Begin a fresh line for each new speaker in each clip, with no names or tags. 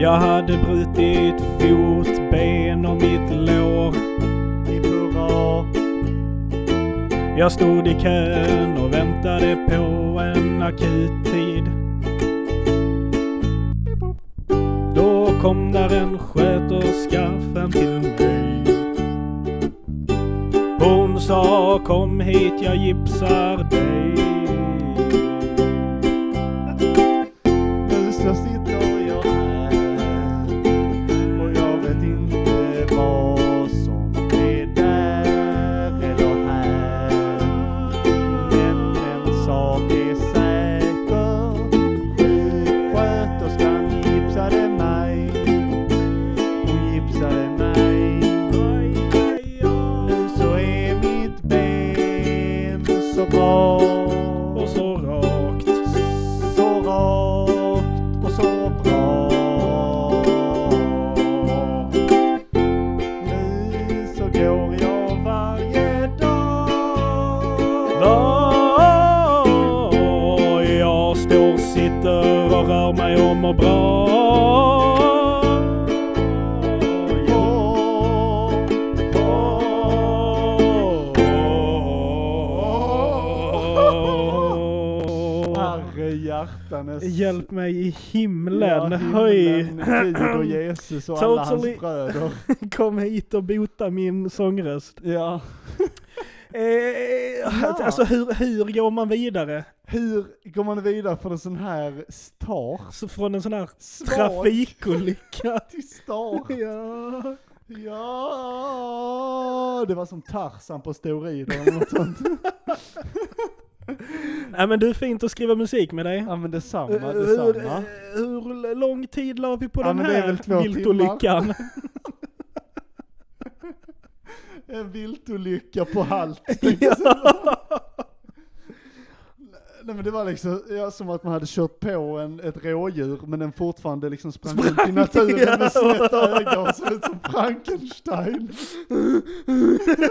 Jag hade brutit fot, ben och mitt lår.
Hipp hurra,
Jag stod i kön och väntade på en akuttid. Då kom där en sköterska fram till mig. Hon sa kom hit jag gipsar dig.
nu så sitter jag här och jag vet inte vad som är där eller här. Men en sak är säker, sjuksköterskan gipsade mig. Hon gipsade mig. Nu så är mitt ben så bra.
Och så rakt.
Så rakt och så bra. Nu så går jag varje dag.
Var jag står, sitter och rör mig om och bra.
Herre hjärtanes.
Hjälp mig i
Ja,
himlen,
himlen,
höj!
Gud och Jesus och alla
Totally.
hans bröder.
Kom hit och bota min sångröst.
Ja.
Eh, Alltså hur, hur går man vidare?
Hur går man vidare från en sån här star?
Så från en sån här
Svag
trafikolycka?
till star?
ja.
Ja! Det var som Tarzan på steroider eller något sånt.
Nej men du, fint att skriva musik med dig.
Ja men
Eh,
detsamma,
Hur,
detsamma.
hur lång tid la vi på
Ja,
den
men det är väl två
här viltolyckan?
En viltolycka på halt. Nej men det var liksom, ja, som att man hade kört på en, ett rådjur men den fortfarande liksom sprang, ut i naturen med sneda ögon, såg ut som Frankenstein.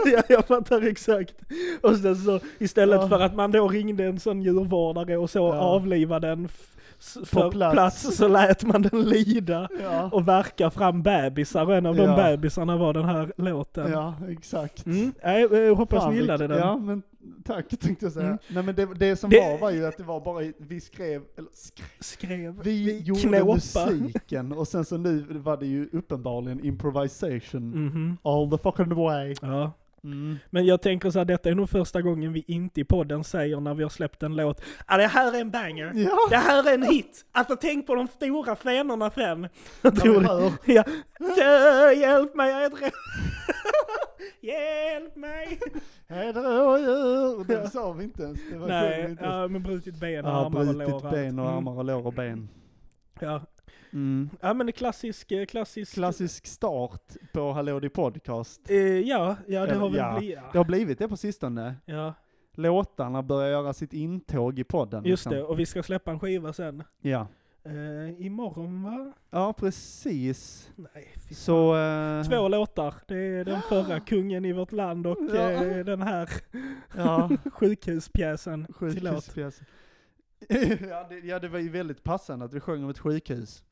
ja, jag fattar exakt. Och sen så istället
Ja.
för att man då ringde en sån djurvårdare och så
Ja.
avlivade den f- s- för plats.
plats.
så lät man den lida
Ja,
och verka fram bebisar och en av de
Ja.
bebisarna var den här låten.
ja exakt.
Mm. Nej, jag hoppas
Fan,
ni gillade
vilk-
den.
Ja, men tack tänkte jag säga.
Mm.
Nej men det, det som
Det-
var var ju att det var bara, vi skrev, eller skrev,
Skrev
vi, gjorde
knåpa.
musiken och sen så nu var det ju uppenbarligen improvisation
Mhm.
all the fucking way.
Ja.
Mm.
Men jag tänker så här, detta är nog första gången vi inte i podden säger när vi har släppt en låt, ah, det här är en banger,
Ja.
det här är en hit, alltså tänk på de stora scenerna sen. Jag
vi
tror
hör.
det. Ja. Dö, hjälp mig, jag är ett rå- Hjälp mig!
Hej då rådjur! Det sa vi inte ens. Det var sjukt
Nej,
inte ens.
ja, men brutit ben och
Ja,
armar och lår.
brutit
allt.
ben och
Mm,
armar och lår och ben.
Ja.
Mm.
ja, men klassisk, eh, klassisk.
Klassisk start på Hallå din podcast.
eh, ja, ja, det
Eller,
har väl
ja.
blivit.
Det
Ja.
har blivit det på sistone.
Ja,
Låtarna börjar göra sitt intåg i podden.
just
liksom.
det. Och vi ska släppa en skiva sen.
Ja.
Eh, imorgon va?
ja, precis.
Nej, fy
Så... eh,
Två låtar. Det är den förra kungen i vårt land och
Ja.
eh, den här
Ja,
sjukhuspjäsen till låt.
sjukhuspjäs. ja, det, ja, det var ju väldigt passande att vi sjöng om ett sjukhus.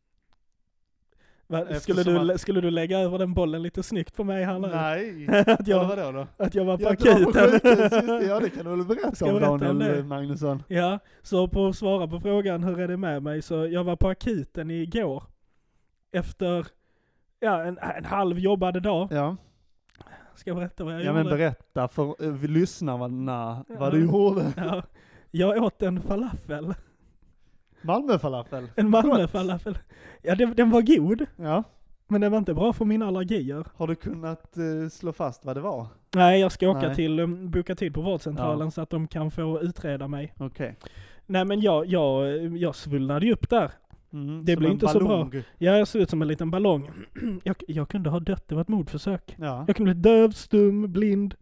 Va,
Eftersom
skulle, du,
att-
lä- skulle du lägga över den bollen lite snyggt på mig här nu?
Nej!
att,
Ja,
jag,
vadå då?
att jag var på
Ja, det var på sjukhus, just
akuten.
det. Ja, det kan du väl berätta
Ska
om
jag berätta om
Daniel
det?
Magnusson?
ja, så på att svara på frågan hur är det med mig så jag var på akuten igår. Efter ja, en, en halv jobbade dag.
Ja,
Ska jag berätta vad jag
ja
gjorde?
men berätta för eh, vi lyssnarna
Ja.
vad du gjorde.
ja, jag åt en falafel.
Malmöfalafel.
En Malmöfalafel. Ja, den, den var god,
Ja.
men den var inte bra för mina allergier.
Har du kunnat eh, slå fast vad det var?
Nej, jag ska åka
Nej.
till, um, boka tid på vårdcentralen
Ja.
så att de kan få utreda mig.
Okej.
Nej men jag, jag, jag svullnade ju upp där.
Mm,
Det
som
blir
en
inte så bra.
ballong.
Ja, jag såg ut som en liten ballong. Jag, jag kunde ha dött, det var ett mordförsök.
Ja.
Jag kunde bli döv, stum, blind,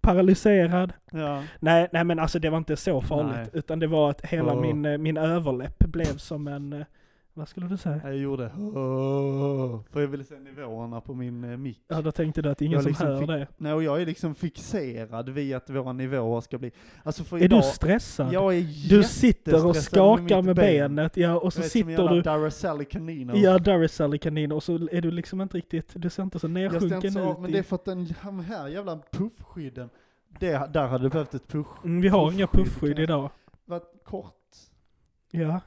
paralyserad.
ja.
Nej, nej men alltså det var inte så farligt.
Nej.
Utan det var att hela
Åh.
min, eh, min överläpp blev som en, eh, Vad skulle du säga?
Jag gjorde "Åh", för jag ville se nivåerna på min eh, mick.
Ja, då tänkte du att det är ingen
Jag
som
liksom
hör
fick-
det.
Nej, och jag är liksom fixerad vid att våra nivåer ska bli, alltså för
Är du
idag,
stressad?
jag är
du sitter och
jättestressad med
skakar
mitt
med
ben.
benet, ja, och så
Jag är som en
sitter
jävla
du
Duracell kaniner.
Ja, Darisally kanin och så är du liksom inte riktigt, du ser inte så
jag stämmer
nedsjunken
så av,
ut.
men det är
i-
för att den de här jävla puffskydden, det, där hade du behövt ett puff,
Mm, Vi har inga
puffskydd,
puffskydd
kan-
idag.
vad kort,
Ja,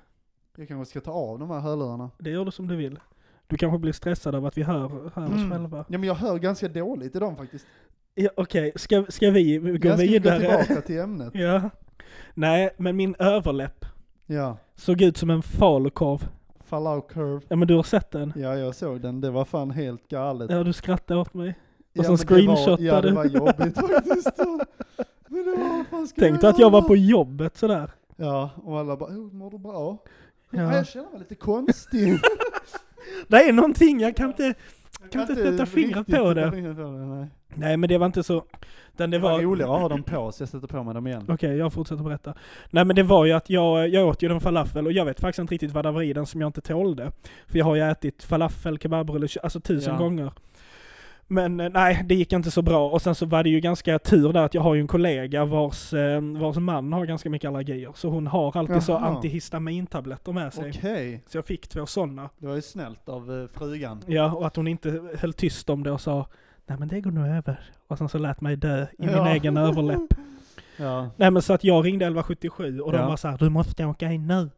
jag kanske ska ta av de här hörlurarna.
det gör du som du vill. Du kanske blir stressad av att vi hör, hör oss
Mm.
själva.
Ja men jag hör ganska dåligt i dem faktiskt.
Ja, Okej, ska, ska vi gå
jag ska ju gå
vidare?
tillbaka till ämnet.
ja. Nej, men min överläpp
Ja,
såg ut som en falukorv.
fallout curve.
Ja men du har sett den?
Ja jag såg den, det var fan helt galet.
Ja, du skrattade åt mig.
Ja,
så
men det var- Ja
screenshotade
det
du.
var jobbigt faktiskt. Men det var, vad fan ska
Tänk dig att jag var på jobbet sådär.
Ja, och alla bara, oh, mår du bra? Ja.
Ja.
jag känner mig lite konstig.
Det är någonting, jag kan inte...
Jag
Kan inte sätta fingret
riktigt
på
sätta
det.
fingret på det, nej.
Nej men det var inte så... Utan det
Det var
var...
roligare att ha dem på, så jag sätter på mig dem igen.
Okej, jag fortsätter berätta. Nej men det var ju att jag, jag åt ju den falafel och jag vet faktiskt inte riktigt vad det var i den som jag inte tålde. För jag har ju ätit falafel, kebabrulle, alltså tusen
Ja.
gånger. Men eh, nej, det gick inte så bra. Och sen så var det ju ganska tur där att jag har ju en kollega vars, eh, vars man har ganska mycket allergier. Så hon har alltid så
Jaha.
antihistamintabletter med sig.
Okej,
Så jag fick två sådana.
det var ju snällt av eh, frugan.
Ja, och att hon inte höll tyst om det och sa Nej men det går nog över. Och sen så lät mig dö i min
Ja.
egen överläpp.
Ja.
Nej men så att jag ringde 1177 och de
Ja.
var så här, du måste åka in nu.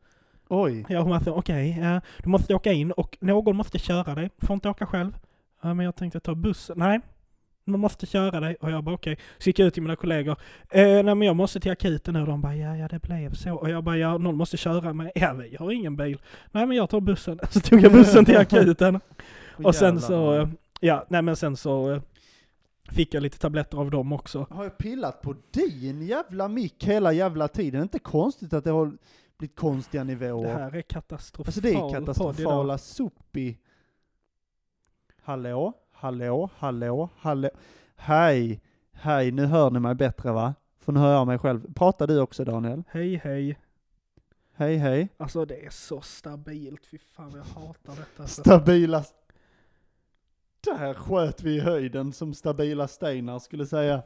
Oj,
Ja hon var så här, okej, ja, du måste åka in och någon måste köra dig, du får inte åka själv. Ja men jag tänkte ta bussen, nej. Man måste köra dig och jag bara okej. Så gick jag ut till mina kollegor. Eh, nej men jag måste till akuten nu. De bara ja ja det blev så. Och jag bara ja någon måste köra mig. Ja vi har ingen bil. Nej men jag tar bussen. Så tog jag bussen till akuten.
Åh,
Och sen
jävlar.
så, eh, ja nej men sen så eh, fick jag lite tabletter av dem också.
Har jag pillat på din jävla mick hela jävla tiden? Det är inte konstigt att det har blivit konstiga
Det
nivåer.
här är katastrofal
Alltså det är
podd idag.
katastrofala sopi. Hallå, hallå, hallå, hallå. Hej, hej, nu hör ni mig bättre va? För nu hör jag mig själv. Pratar du också Daniel?
Hej hej.
Hej, hej.
Alltså det är så stabilt, fy fan vad jag hatar detta. alltså.
Stabila... Där sköt vi i höjden som stabila stenar skulle säga.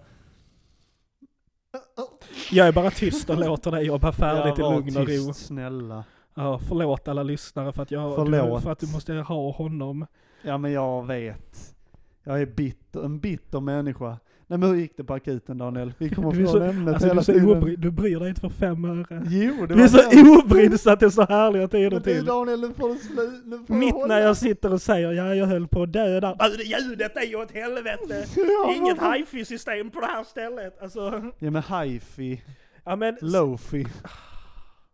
Jag är bara tyst och låter dig jobba färdigt i
Ja, var
lugn och
tyst,
ro.
snälla.
Ja, förlåt alla lyssnare för att, jag, du,
Förlåt.
för att du måste ha honom.
Ja men jag vet. Jag är bitter, en bitter människa. Nej men hur gick det på akuten Daniel? Vi kommer
Du är
från
så-
ämnet
Alltså, du,
hela
är så
tiden.
obry- du bryr dig inte för fem öre.
Jo, det
Du är
var
så obrydd så att det är så härliga tider
Men du
till.
Daniel, nu får du slu- nu får
Mitt
du
när jag sitter och säger ja, jag höll på att dö där. Alltså det ljudet är ju åt helvete!
Ja,
Inget
men-
hifi system på det här stället. Alltså,
Ja men hifi,
ja men...
lofi.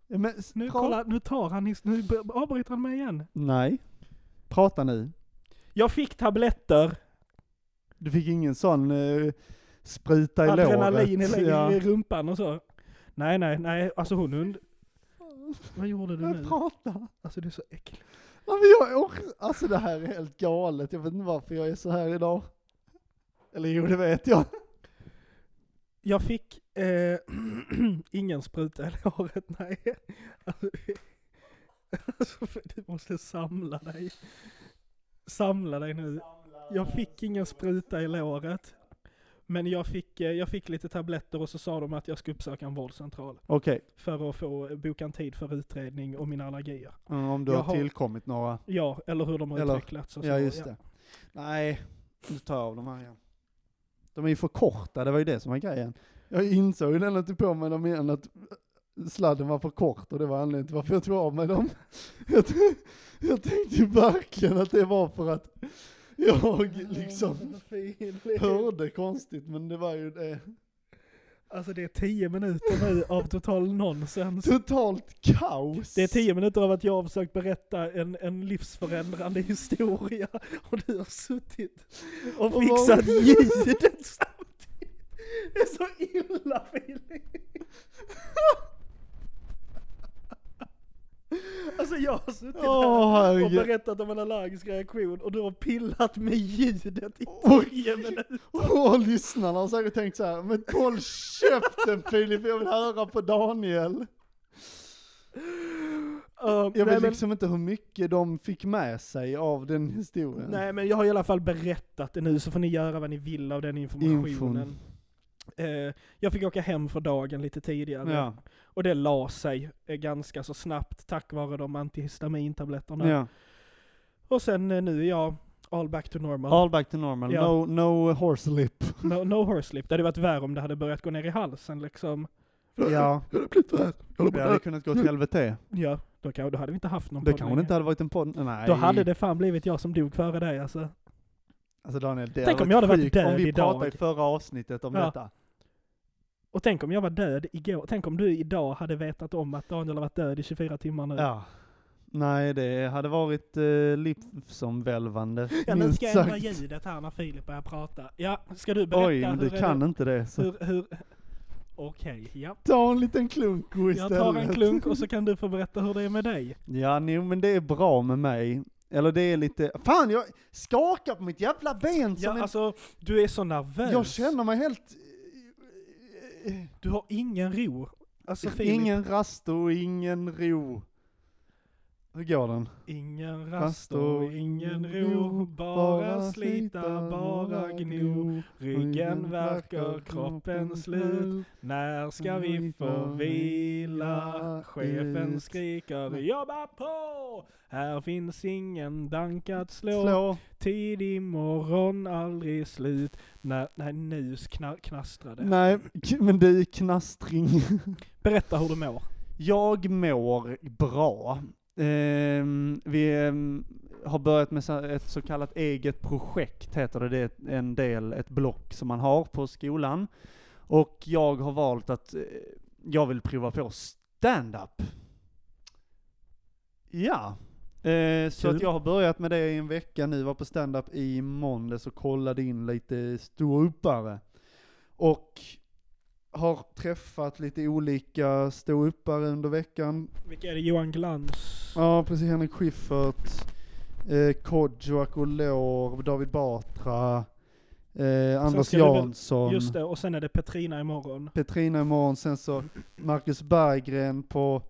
Ja, men s-
Nu,
pra-
kolla, nu tar han, his- nu b- avbryter han mig igen.
Nej. Prata nu.
Jag fick tabletter.
Du fick ingen sån eh, spruta i låret.
Adrenalin i,
Ja.
i rumpan och så. Nej, nej, nej, alltså hon und... Vad gjorde du
Men
nu?
prata.
Alltså du är så äcklig.
Ja, men jag orkar. Alltså det här är helt galet. Jag vet inte varför jag är så här idag. Eller jo, det vet jag.
Jag fick eh, ingen spruta i håret, nej. Alltså, alltså, för du måste samla dig. Samla dig nu. Jag fick ingen spruta i låret. Men jag fick, eh, jag fick lite tabletter och så sa de att jag skulle uppsöka en vårdcentral.
Okej,
För att få boka en tid för utredning om mina allergier.
mm, om du
Jag
har
har-
tillkommit några.
Ja, eller hur de har
Eller-
utvecklats. Och så.
Ja, just det. Nej, nu tar jag av de här igen. De är ju för korta, det var ju det som var grejen. Jag insåg ju när jag tog på mig dem igen att sladden var för kort och det var anledningen till varför jag tog av mig dem. Jag, t- jag tänkte ju verkligen att det var för att jag liksom hörde konstigt, men det var ju det.
Alltså det är tio minuter nu av total nonsens.
Totalt kaos!
Det är tio minuter av att jag har försökt berätta en, en livsförändrande historia och du har suttit och
Och
fixat
vad-
ljudet samtidigt. Det är så illa Filip. Alltså jag har suttit
Åh
här och
herregud.
berättat om en allergisk reaktion och du har pillat med ljudet i
Oj.
tio minuter.
Och lyssnarna har säkert tänkt så här, men håll käften Filip, jag vill höra på Daniel.
Ja,
Jag
nej,
vet
men,
liksom inte hur mycket de fick med sig av den historien.
nej men jag har i alla fall berättat det nu så får ni göra vad ni vill av den informationen.
Infon.
Eh, jag fick åka hem för dagen lite tidigare
Ja,
och det la sig eh, ganska så snabbt tack vare de antihistamintabletterna.
ja.
Och sen eh, nu är jag all back to normal.
All back to normal.
Ja.
No, no horse lip.
No, no horse slip. Det hade varit värre om det hade börjat gå ner i halsen liksom.
Ja, det hade kunnat gå åt helvete.
Ja, då, kan, då hade vi inte haft någon
Det
podd
kanske
längre.
inte hade varit en podd. Nej.
Då hade det fan blivit jag som dog före dig alltså.
Alltså Daniel, det
Tänk om
hade
jag hade varit
sjukt
död
om vi
idag.
pratade i förra avsnittet om
Ja.
detta.
Och tänk om jag var död igår. Tänk om du idag hade vetat om att Daniel har varit död i 24 timmar nu.
Ja. Nej, det hade varit eh, livsomvälvande.
Ja, nu
minst
ska jag ändra
sagt.
ljudet här när Filip börjar prata. Ja, ska du berätta
Oj, men
hur
du
är
kan inte det.
det?
Så
Hur, hur... Okej, ja.
ta en liten klunk istället.
Jag tar en klunk och så kan du få berätta hur det är med dig.
Ja, nej, men det är bra med mig. Eller det är lite, fan jag skakar på mitt jävla ben som
Ja,
en...
alltså, du är så nervös.
Jag känner mig helt...
Du har ingen ro. Alltså Filip, ingen,
Ingen rast och ingen ro. Hur går den?
ingen
Rast
rast
och
och ingen ro. Bara slita, bara gno. Ryggen värker, kroppen slut. När ska
Mm,
vi få vila? Chefen skriker
Mm.
jobba på! Här finns ingen dank att slå.
Slå.
Tidig morgon, aldrig slut. Nej, nej nu kna- knastrade.
Nej, k- men det är knastring.
Berätta hur du mår.
Jag mår bra. Ehm, vi ehm, har börjat med så- ett så kallat eget projekt, heter det. Det är ett- en del, ett block som man har på skolan. Och jag har valt att eh, jag vill prova på stand-up. Ja. Eh, så
Kul.
att jag har börjat med det i en vecka nu, var på stand-up i måndags och kollade in lite ståuppare. Och har träffat lite olika ståuppare under veckan.
Vilka är det? Johan Glans?
Ja, precis. Henrik Schyffert, eh, Kodjo Akolor, David Batra, eh, Anders
ska du väl-
Jansson,
Just det, och sen är det Petrina imorgon.
Petrina imorgon, sen så Marcus Berggren på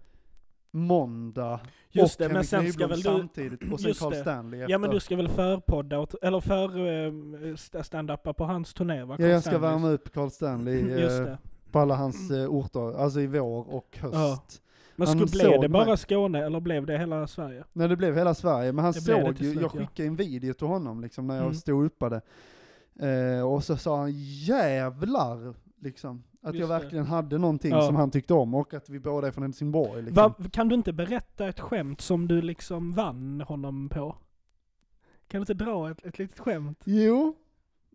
måndag.
Just
och
det, men
Henrik
sen ska
Nyblom
väl du...
samtidigt, och sen
Just
Carl
det.
Stanley efter.
Ja men du ska väl förpodda, åt, eller för eh, stand-upa på hans turné va?
Ja, jag ska
Carl Stanleys.
värma upp Carl Stanley
Just
eh,
det.
på alla hans eh, orter, alltså i vår och höst.
Ja. Men
han
skulle, blev
såg
det
mig.
bara Skåne eller blev det hela Sverige?
Nej det blev hela Sverige, men han
Det blev det
såg
till
ju,
slut,
jag
ja.
skickade en video till honom liksom när jag
Mm.
stod uppe det. Eh, och så sa han jävlar, liksom. Att
Just
jag
det.
verkligen hade någonting
Ja.
som han tyckte om och att vi båda är från Helsingborg liksom.
Va, kan du inte berätta ett skämt som du liksom vann honom på? Kan du inte dra ett, ett litet skämt?
Jo,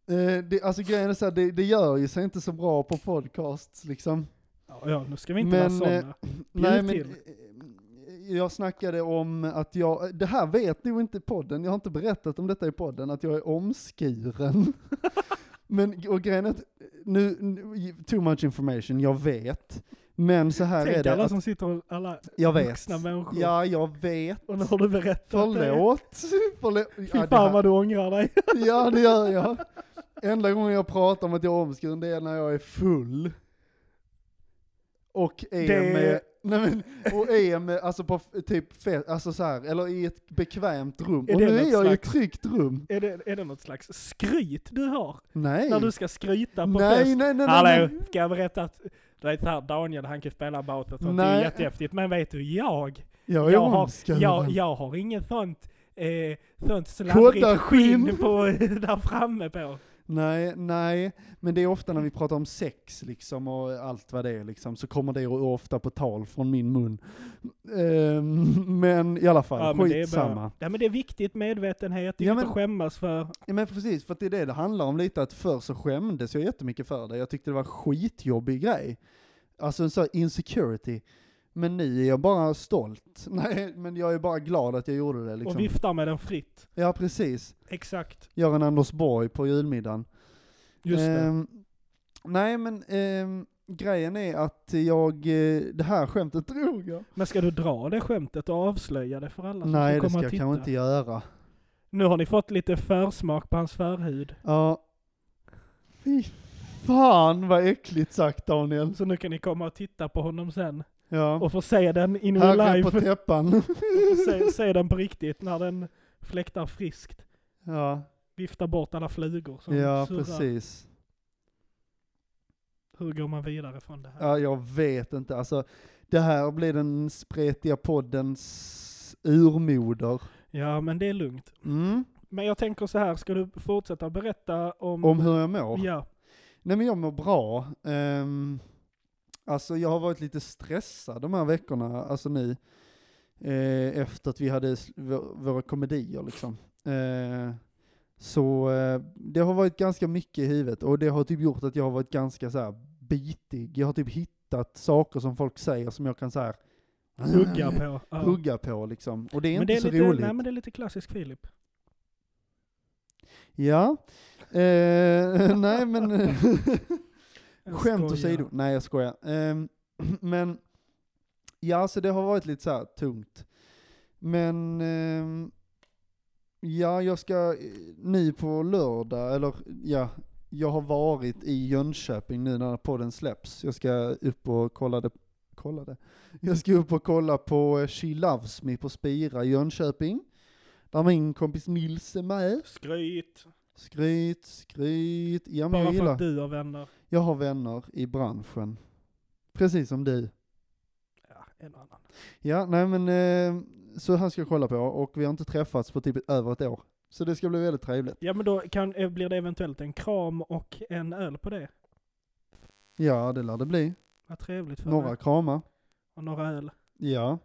eh, det, alltså grejen är så här, det, det gör ju sig inte så bra på podcasts liksom.
Ja, ja nu ska vi inte
Men,
vara
eh,
sådana.
Nej men,
till.
eh, jag snackade om att jag, det här vet nog inte podden, jag har inte berättat om detta i podden, att jag är omskuren. men, och grejen är att, nu, nu, too much information, jag vet. Men så här är
Tänk
det,
alla
att,
som sitter och alla
jag vet.
vuxna människor.
Ja, jag vet.
Och nu har du berättat det.
Förlåt. Förlåt.
Fy
Ja, det
fan
här-
vad du ångrar dig.
Ja, det gör jag. Enda gången jag pratar om att jag är omskuren, det är när jag är full. Och är
Det-
med, nej men, och är med, alltså på f- typ fest, alltså så här, eller i ett bekvämt rum.
Är
och
det
nu
något
är jag i ett
slags-
tryggt rum.
Är det, är det något slags skryt du har?
Nej.
När du ska skryta på
nej, nej,
fest?
nej, nej,
Hallå,
nej.
ska jag berätta att du vet såhär Daniel han kan spela bautet och det
Nej.
är jättehäftigt. Men vet du, jag
Jag är
jag,
omskuren.
har, jag, jag har ingen sånt, eh, sånt sladdrigt
Koddarskinn.
skinn på, där framme på.
Nej, nej. Men det är ofta när vi pratar om sex liksom och allt vad det är liksom, så kommer det o- ofta på tal från min mun. Ehm, men i alla fall,
men det, är
skitsamma.
bara, ja, men det är viktigt medvetenhet, det är
Ja,
inget
men-
att skämmas för.
Ja men precis, för att det är det det handlar om lite, att förr så skämdes jag jättemycket för det. Jag tyckte det var en skitjobbig grej. Alltså en sån här insecurity. Men nu är jag bara stolt. Nej, men jag är bara glad att jag gjorde det liksom.
Och viftar med den fritt.
Ja precis.
Exakt,
Gör en Anders Borg på julmiddagen.
just det.
Ehm, nej men ehm, grejen är att jag, eh, det här skämtet drog jag.
Men ska du dra det skämtet och avslöja det för alla som
Nej
ska
det
komma
ska
och
jag
titta?
kanske inte göra.
Nu har ni fått lite försmak på hans förhud.
Ja. Fy fan vad äckligt sagt Daniel.
Så nu kan ni komma och titta på honom sen.
Ja.
och få se den in real
Herre
life.
på täppan.
Få se, se den på riktigt när den fläktar friskt.
ja,
Viftar bort alla flugor som
ja
surrar.
precis.
Hur går man vidare från det här?
Ja, jag vet inte. Alltså, det här blir den spretiga poddens urmoder.
Ja, men det är lugnt.
Mm.
Men jag tänker så här, ska du fortsätta berätta om...
Om hur jag mår.
Ja.
Nej men jag mår bra. Um, alltså jag har varit lite stressad de här veckorna, alltså nu. Eh, efter att vi hade s- vå- våra komedier liksom. Eh, så eh, det har varit ganska mycket i huvudet och det har typ gjort att jag har varit ganska så här bitig. Jag har typ hittat saker som folk säger som jag kan så här
Hugga på. Ja.
hugga på liksom. Och det är
men
inte
det är
så
lite,
roligt.
Nej, men det är lite klassisk Filip.
Ja. Eh, nej men
Jag
Skämt
skojar.
åsido. Nej jag skojar. Ehm, men, ja alltså det har varit lite så här tungt. Men, ehm, ja jag ska eh, nu på lördag, eller ja, jag har varit i Jönköping nu när podden släpps. Jag ska upp och kolla det, kolla det. Jag ska upp och kolla på eh, She Loves Me på Spira i Jönköping. Där min kompis Nils är med.
Skryt.
Skryt, skryt. Ja, men
Bara
jag
för
gillar.
att du har vänner.
Jag har vänner i branschen. Precis som du.
Ja, en och annan.
Ja, nej men eh, så han ska jag kolla på och vi har inte träffats på typ över ett år. Så det ska bli väldigt trevligt.
Ja, men då kan, eh, blir det eventuellt en kram och en öl på det.
Ja, det lär det bli.
Vad trevligt för
Några
dig.
kramar.
Och några öl.
Ja,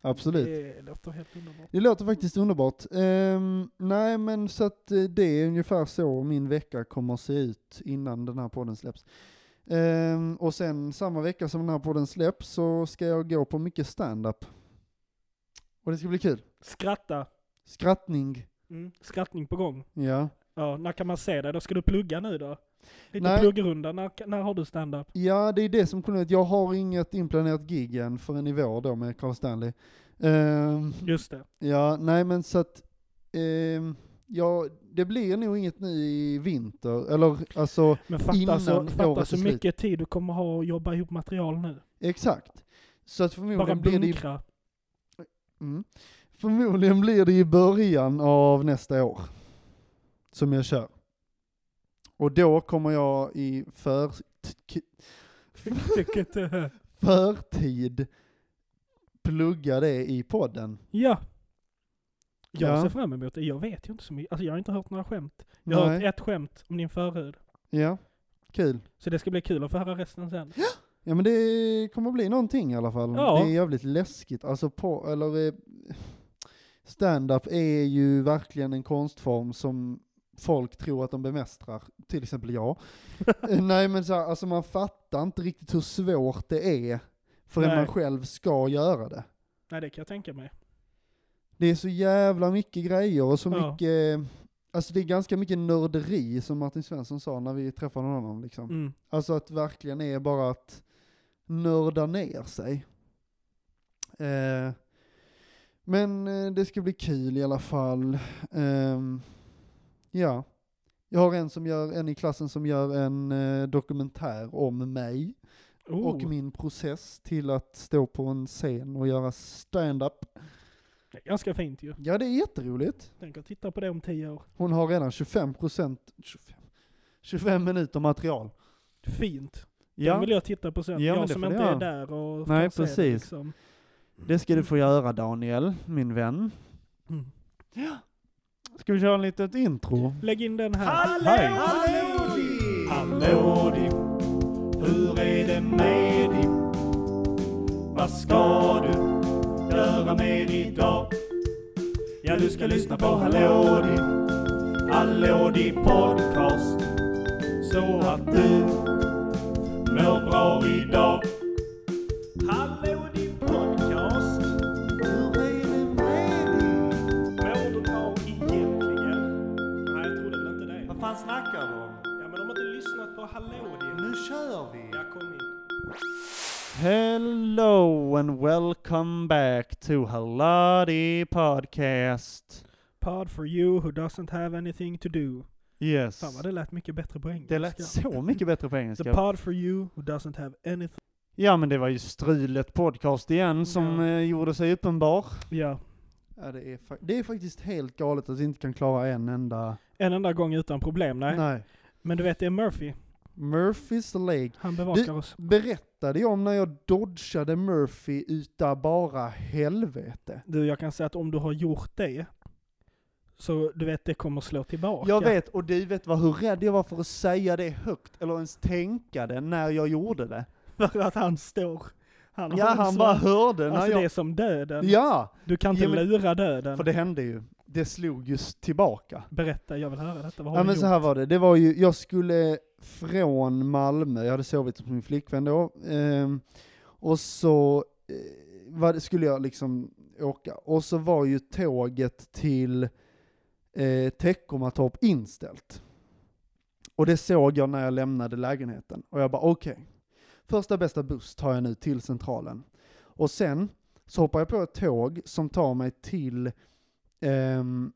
absolut.
Det låter helt underbart.
Det låter faktiskt underbart. Ehm, nej men så att eh, det är ungefär så min vecka kommer att se ut innan den här podden släpps. Ehm, och sen samma vecka som den här podden släpps så ska jag gå på mycket stand-up. Och det ska bli kul.
Skratta.
Skrattning.
Mm. Skrattning på gång.
Ja.
Ja, när kan man se det? Då ska du plugga nu då? Lite
Nej.
pluggrunda, när, när har du stand-up?
Ja, det är det som kommer ut. Jag har inget inplanerat gig än förrän i vår då med Carl Stanley. Ehm,
Just det.
ja, nej men så att, ehm, ja, det blir nog inget nu i vinter, eller alltså
Men fatta
Innan
så, fatta
året
så
är slut.
mycket tid du kommer ha att jobba ihop material nu.
exakt. Så att
Bara
förmodligen blir, det i,
bunkra.
mm, förmodligen blir det i början av nästa år som jag kör. Och då kommer jag i för, t-
Vilket, eh,
förtid plugga det i podden.
ja. Jag
Ja.
ser fram emot det. Jag vet ju inte så mycket. Alltså jag har inte hört några skämt. Jag har hört ett skämt om din förhud.
Ja, kul.
Så det ska bli kul att få höra resten sen.
Ja men det kommer bli någonting i alla fall.
Ja.
Det är jävligt läskigt. Alltså på, eller eh, stand-up är ju verkligen en konstform som folk tror att de bemästrar. Till exempel jag. Eh, Nej men så här, alltså man fattar inte riktigt hur svårt det är förrän
Nej.
man själv ska göra det.
Nej det kan jag tänka mig.
Det är så jävla mycket grejer och så
Ja.
mycket, alltså det är ganska mycket nörderi som Martin Svensson sa när vi träffade honom liksom.
Mm.
Alltså att verkligen är bara att nörda ner sig. Eh, men eh, det ska bli kul i alla fall. Ehm, ja. Jag har en, som gör, en i klassen som gör en eh, dokumentär om mig
Oh.
och min process till att stå på en scen och göra stand-up.
Det är ganska fint ju.
Ja, det är jätteroligt.
Tänk att titta på det om tio år.
Hon har redan 25 procent, 25, 25 minuter material.
Fint. Den
Ja,
vill jag titta på sen.
Ja, men
jag
det
som
får
inte är
ni göra.
där och kan
Nej,
se det,
precis.
liksom.
det ska du få göra Daniel, min vän.
Mm.
Ska vi köra en litet intro?
Lägg in den här.
Hej. Hallå Dipp, hur är det med Dipp? Vad ska du göra mer idag? Ja, du ska lyssna på Hallå Dipp, Hallå Dipp podcast. Så att du mår bra idag. Hallå Dipp podcast, mår du bra egentligen?
Nej, jag trodde väl inte det.
Vad fan snackar du om?
Ja, men de har inte lyssnat på Hallå din.
Nu kör vi!
Jag kom in.
Hello and welcome back to Haladi Podcast.
Pod for you who doesn't have anything to do.
Yes.
Fan vad det lät mycket bättre på engelska.
Det lät så mycket bättre på
The
engelska.
pod for you who doesn't have anything
Ja men det var ju strulet podcast igen som
Ja.
eh, gjorde sig uppenbar.
Ja.
Ja, det, är fa- det är faktiskt helt galet att vi inte kan klara en enda...
En enda gång utan problem, nej. Men du vet, det är Murphy.
Murphys Lake.
Han bevakar
Du-
oss.
Berättade jag om när jag dodgade Murphy uta bara helvete?
Du, jag kan säga att om du har gjort det, så du vet, det kommer slå tillbaka.
Jag vet, och du vet vad, hur rädd jag var för att säga det högt, eller ens tänka det när jag gjorde det.
För att han står... Han har
Ja,
en
han
sån-
bara hörde när
Alltså det är
jag...
som döden.
Ja!
Du kan inte
Ja, men-
lura döden.
För det hände ju. Det slog just tillbaka.
Berätta, jag vill höra detta. Vad har
Ja
du
men
gjort?
så här var det, det var ju, jag skulle från Malmö, jag hade sovit hos min flickvän då, ehm, och så eh, var, det- skulle jag liksom åka, och så var ju tåget till eh, Teckomatorp inställt. Och det såg jag när jag lämnade lägenheten, och jag bara okej, första bästa buss tar jag nu till centralen. Och sen så hoppar jag på ett tåg som tar mig till ehm,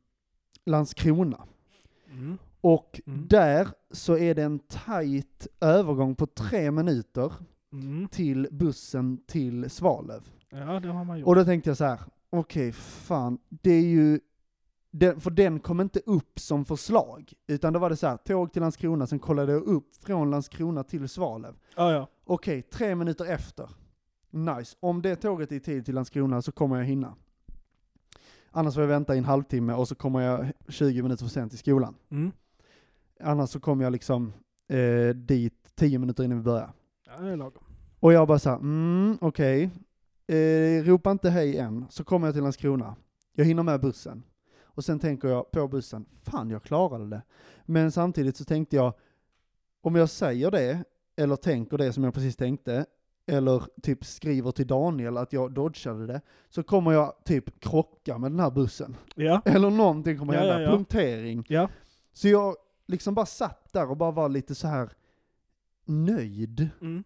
Landskrona.
Mm.
Och
Mm.
där så är det en tajt övergång på tre minuter
Mm.
till bussen till Svalöv.
Ja, det har man gjort.
Och då tänkte jag så här, okej fan, det är ju, den, för den kom inte upp som förslag, utan då var det så här, tåg till Landskrona, sen kollade jag upp från Landskrona till Svalöv.
ja, ja.
Okej, tre minuter efter. Nice. Om det tåget är i tid till Landskrona så kommer jag hinna. Annars får jag vänta i en halvtimme och så kommer jag 20 minuter för sent till skolan.
Mm.
Annars så kom jag liksom eh, dit tio minuter innan vi började.
ja det är lagom.
Och jag bara såhär, mm, okej. Eh, ropa inte hej än. Så kommer jag till Landskrona. Jag hinner med bussen. Och sen tänker jag på bussen, fan jag klarade det. Men samtidigt så tänkte jag, om jag säger det, eller tänker det som jag precis tänkte, eller typ skriver till Daniel att jag dodgade det, så kommer jag typ krocka med den här bussen.
Ja.
Eller någonting kommer
Ja,
hända,
ja, ja.
punktering.
Ja.
Så jag liksom bara satt där och bara var lite så här nöjd
Mm.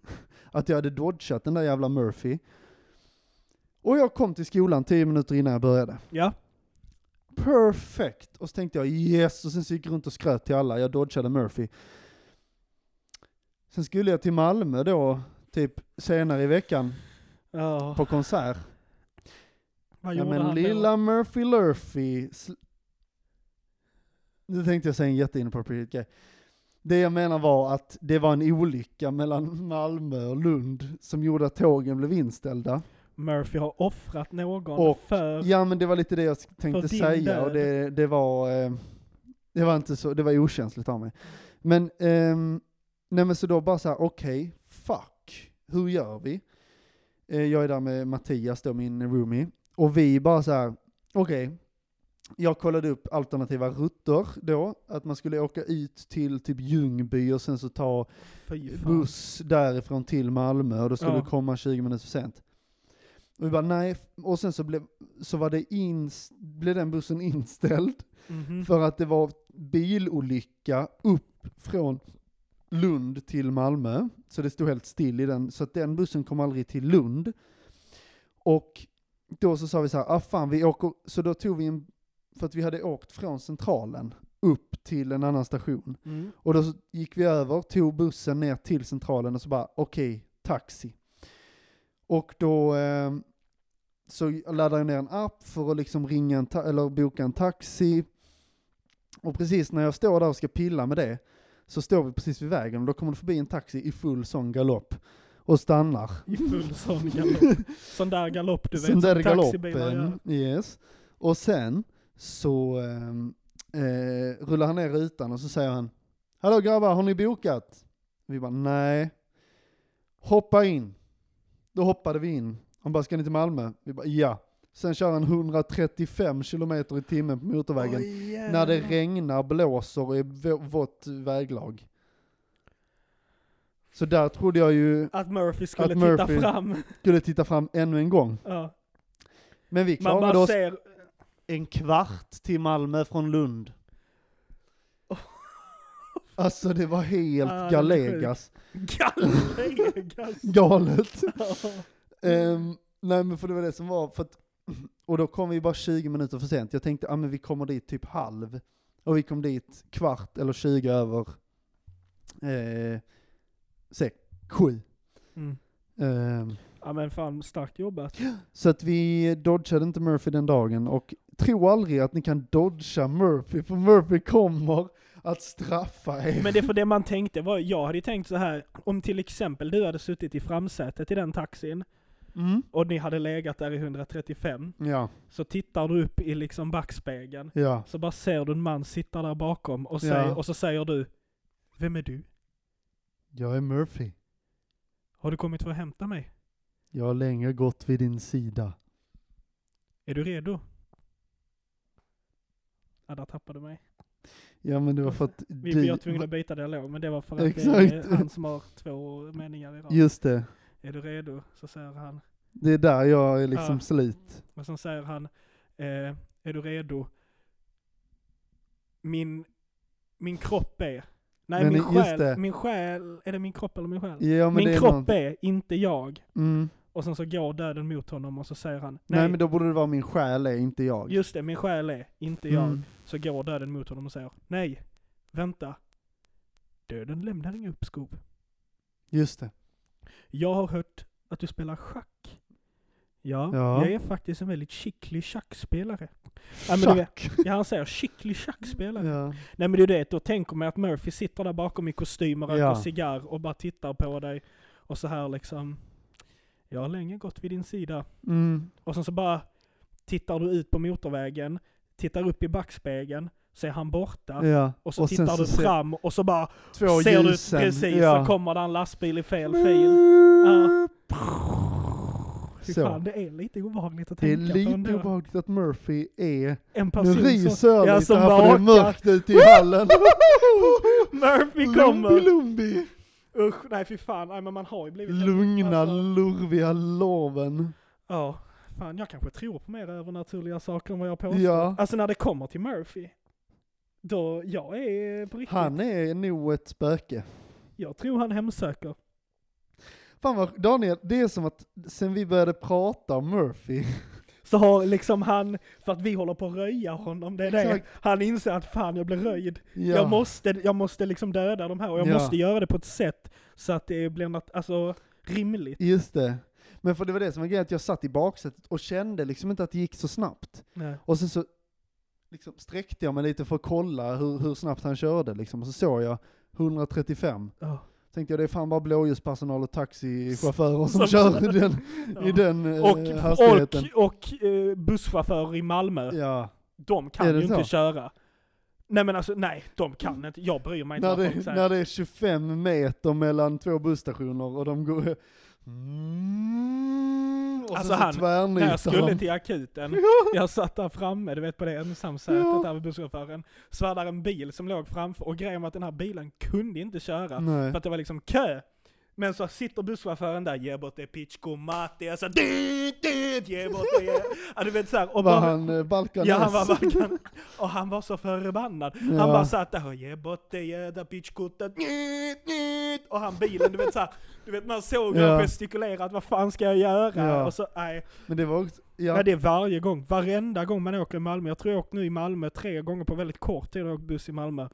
att jag hade dodgat den där jävla Murphy. Och jag kom till skolan tio minuter innan jag började.
Ja.
Perfect! Och så tänkte jag yes, och sen så gick jag runt och skröt till alla, jag dodgade Murphy. Sen skulle jag till Malmö då, typ senare i veckan,
Ja.
på konsert.
Vad
Ja
gjorde
men
han
lilla
då?
Murphy Lurphy. Sl- nu tänkte jag säga en jätteinappropriate grej. Det jag menar var att det var en olycka mellan Malmö och Lund som gjorde att tågen blev inställda.
Murphy har offrat någon
Och-
för...
Ja men det var lite det jag tänkte
din
säga
död.
och det, det var eh, det var inte så, det var okänsligt av mig. Men, ehm, nej men så då bara så här, okej, fuck, hur gör vi? Eh, jag är där med Mattias då, min roomie, och vi bara så här, okej, jag kollade upp alternativa rutter då, att man skulle åka ut till typ Ljungby och sen så ta
Fy fan.
buss därifrån till Malmö och då skulle
Ja.
det komma 20 minuter för sent. Och vi bara nej, och sen så blev, så var det ins, blev den bussen inställd
Mhm.
för att det var bilolycka upp från Lund till Malmö. Så det stod helt still i den, så att den bussen kom aldrig till Lund. Och då så sa vi så här, ah fan vi åker, så då tog vi en, för att vi hade åkt från centralen upp till en annan station.
Mm.
Och då så gick vi över, tog bussen ner till centralen och så bara okej, taxi. Och då eh, så laddade jag ner en app för att liksom ringa en ta- eller boka en taxi. Och precis när jag står där och ska pilla med det så står vi precis vid vägen och då kommer det förbi en taxi i full sån galopp och stannar.
I full sån galopp. Sån där galopp du vet.
Sen
som
där
taxibilar gör.
galoppen, yes. Och sen så ehm, eh, rullar han ner rutan och så säger han Hallå grabbar, har ni bokat? Vi bara nej. Hoppa in. Då hoppade vi in. Han bara, ska ni till Malmö? Vi bara ja. Sen kör han 135 kilometer i timmen på motorvägen.
Oj, jävlar.
när det regnar, blåser och är vå- vått väglag. Så där trodde jag ju,
Att Murphy skulle
Att
titta
Murphy-
fram.
skulle titta fram ännu en gång.
Ja.
Men vi
Man
klarade
bara
oss
ser...
en kvart till Malmö från Lund. Alltså det var helt
Ah, det är
galegas.
Galegas!
Galet.
Ja.
Ehm, nej men för det var det som var, för att, och då kom vi bara 20 minuter för sent. Jag tänkte, ja ah, men vi kommer dit typ halv. Och vi kom dit kvart eller 20 över eh, se, sju.
Mm.
Ehm,
Ja men fan, starkt jobbat.
Så att vi dodgade inte Murphy den dagen och tro aldrig att ni kan dodga Murphy för Murphy kommer att straffa er.
Men det för det man tänkte var, jag hade ju tänkt så här om till exempel du hade suttit i framsätet i den taxin
Mm.
och ni hade legat där i 135,
Ja,
så tittar du upp i liksom backspegeln,
ja.
så bara ser du en man sitta där bakom och, säger, och så säger du, vem är du?
Jag är Murphy.
Har du kommit för att hämta mig?
Jag har länge gått vid din sida.
Är du redo? Ja, där tappade du mig.
Ja men det var för att
Vi,
du...
vi var tvungna att byta dialog, men det var för att det
Exakt.
är han som har två meningar i rad.
Just det.
Är du redo? Så säger han,
Det är där jag är liksom
Ja.
slut.
Och sen säger han, eh, är du redo? Min, min kropp är... Nej,
Men
min
just det.
själ, min själ, är det min kropp eller min själ?
Ja, men det
min
är
kropp
någon-
är, inte jag.
Mm.
Och sen så går döden mot honom och så säger han,
Nej.
nej,
men då borde det vara min själ är inte jag.
just det, min själ är, inte
Mm.
jag. Så går döden mot honom och säger, nej, vänta. Döden lämnar inga uppskov.
Just det.
Jag har hört att du spelar schack. Ja,
Ja.
jag är faktiskt en väldigt skicklig schackspelare. Ja, men du vet-
Schack!
Ja, han säger skicklig schackspelare.
Ja.
Nej men det är det, då tänker man att Murphy sitter där bakom i kostym och röker
Ja.
cigarr och bara tittar på dig. Och så här liksom. Jag har länge gått vid din sida.
Mm.
Och sen så bara tittar du ut på motorvägen, tittar upp i backspegeln, ser han borta.
ja.
Och så
Och sen
tittar
så
du
ser-
fram och så bara
Två
ser
ljusen.
du precis,
ja.
så kommer det en lastbil i fel fil. Ja. Fy
Så.
fan, det är lite obehagligt att
Det är
tänka på ändå.
lite obehagligt att Murphy är...
En
Nu
person som...
ryser jag
ja,
lite
som
här för det är
vakar.
mörkt ute i hallen.
Murphy
Lumbi
kommer!
Lumbi!
Usch, nej fy fan, nej, men man har ju blivit...
Lugna,
Alltså-
lurviga loven.
Ja, fan jag kanske tror på mer övernaturliga saker än vad jag påstår.
Ja.
Alltså när det kommer till Murphy, då, jag är på riktigt,
Han är nog ett spöke.
jag tror han hemsöker.
Fan vad, Daniel, det är som att sen vi började prata om Murphy,
Så har liksom han, för att vi håller på att röja honom, det är det.
Exakt.
Han inser att fan jag blir röjd.
ja,
Jag, måste, jag måste liksom döda de här och jag
Ja.
måste göra det på ett sätt så att det blir något, alltså rimligt.
just det. Men för det var det som var grejen, att jag satt i baksätet och kände liksom inte att det gick så snabbt.
Nej.
Och sen så liksom sträckte jag mig lite för att kolla hur, hur snabbt han körde liksom, och så såg jag 135.
Ja.
Tänkte jag det är fan bara blåljuspersonal och taxichaufförer som,
Som
kör
kör.
i den, i
Ja.
den eh,
Och, och,
hastigheten.
och eh, busschaufförer i Malmö,
ja.
de
Är
kan
det
ju inte
så?
köra. Nej men alltså nej, de kan inte. Jag bryr mig inte
När
vad
det,
folk säger.
när det är 25 meter mellan två busstationer och de går... Mm, och
Alltså
så,
han-
så
När jag
tvärnitar
skulle
de.
till akuten, jag satt där framme, du vet på det ensamsätet
Ja.
där vid busschauffören, så var där en bil som låg framför och grejen var att den här bilen kunde inte köra
Nej.
för att det var liksom kö. Men så sitter busschauffören där, ge bort det pitchko mate, alltså dit, dit, ge bort det, ge. Ja, du vet såhär, och
var
bara,
han eh, Balkan
Ja, han var
S?
verkligen... Och han var så förbannad.
Ja.
Han bara satt där och ge bort det jädra pitchkortet. Njet, njet. Och han bilen, du vet såhär, du vet man såg hur
Ja.
han gestikulerade, vad fan ska jag göra?
Ja.
Och så, nej.
Men det var också... Ja,
nej. Det är varje gång, varenda gång man åker i Malmö. Jag tror jag har åkt nu i Malmö tre gånger på väldigt kort tid, jag har åkt buss i Malmö.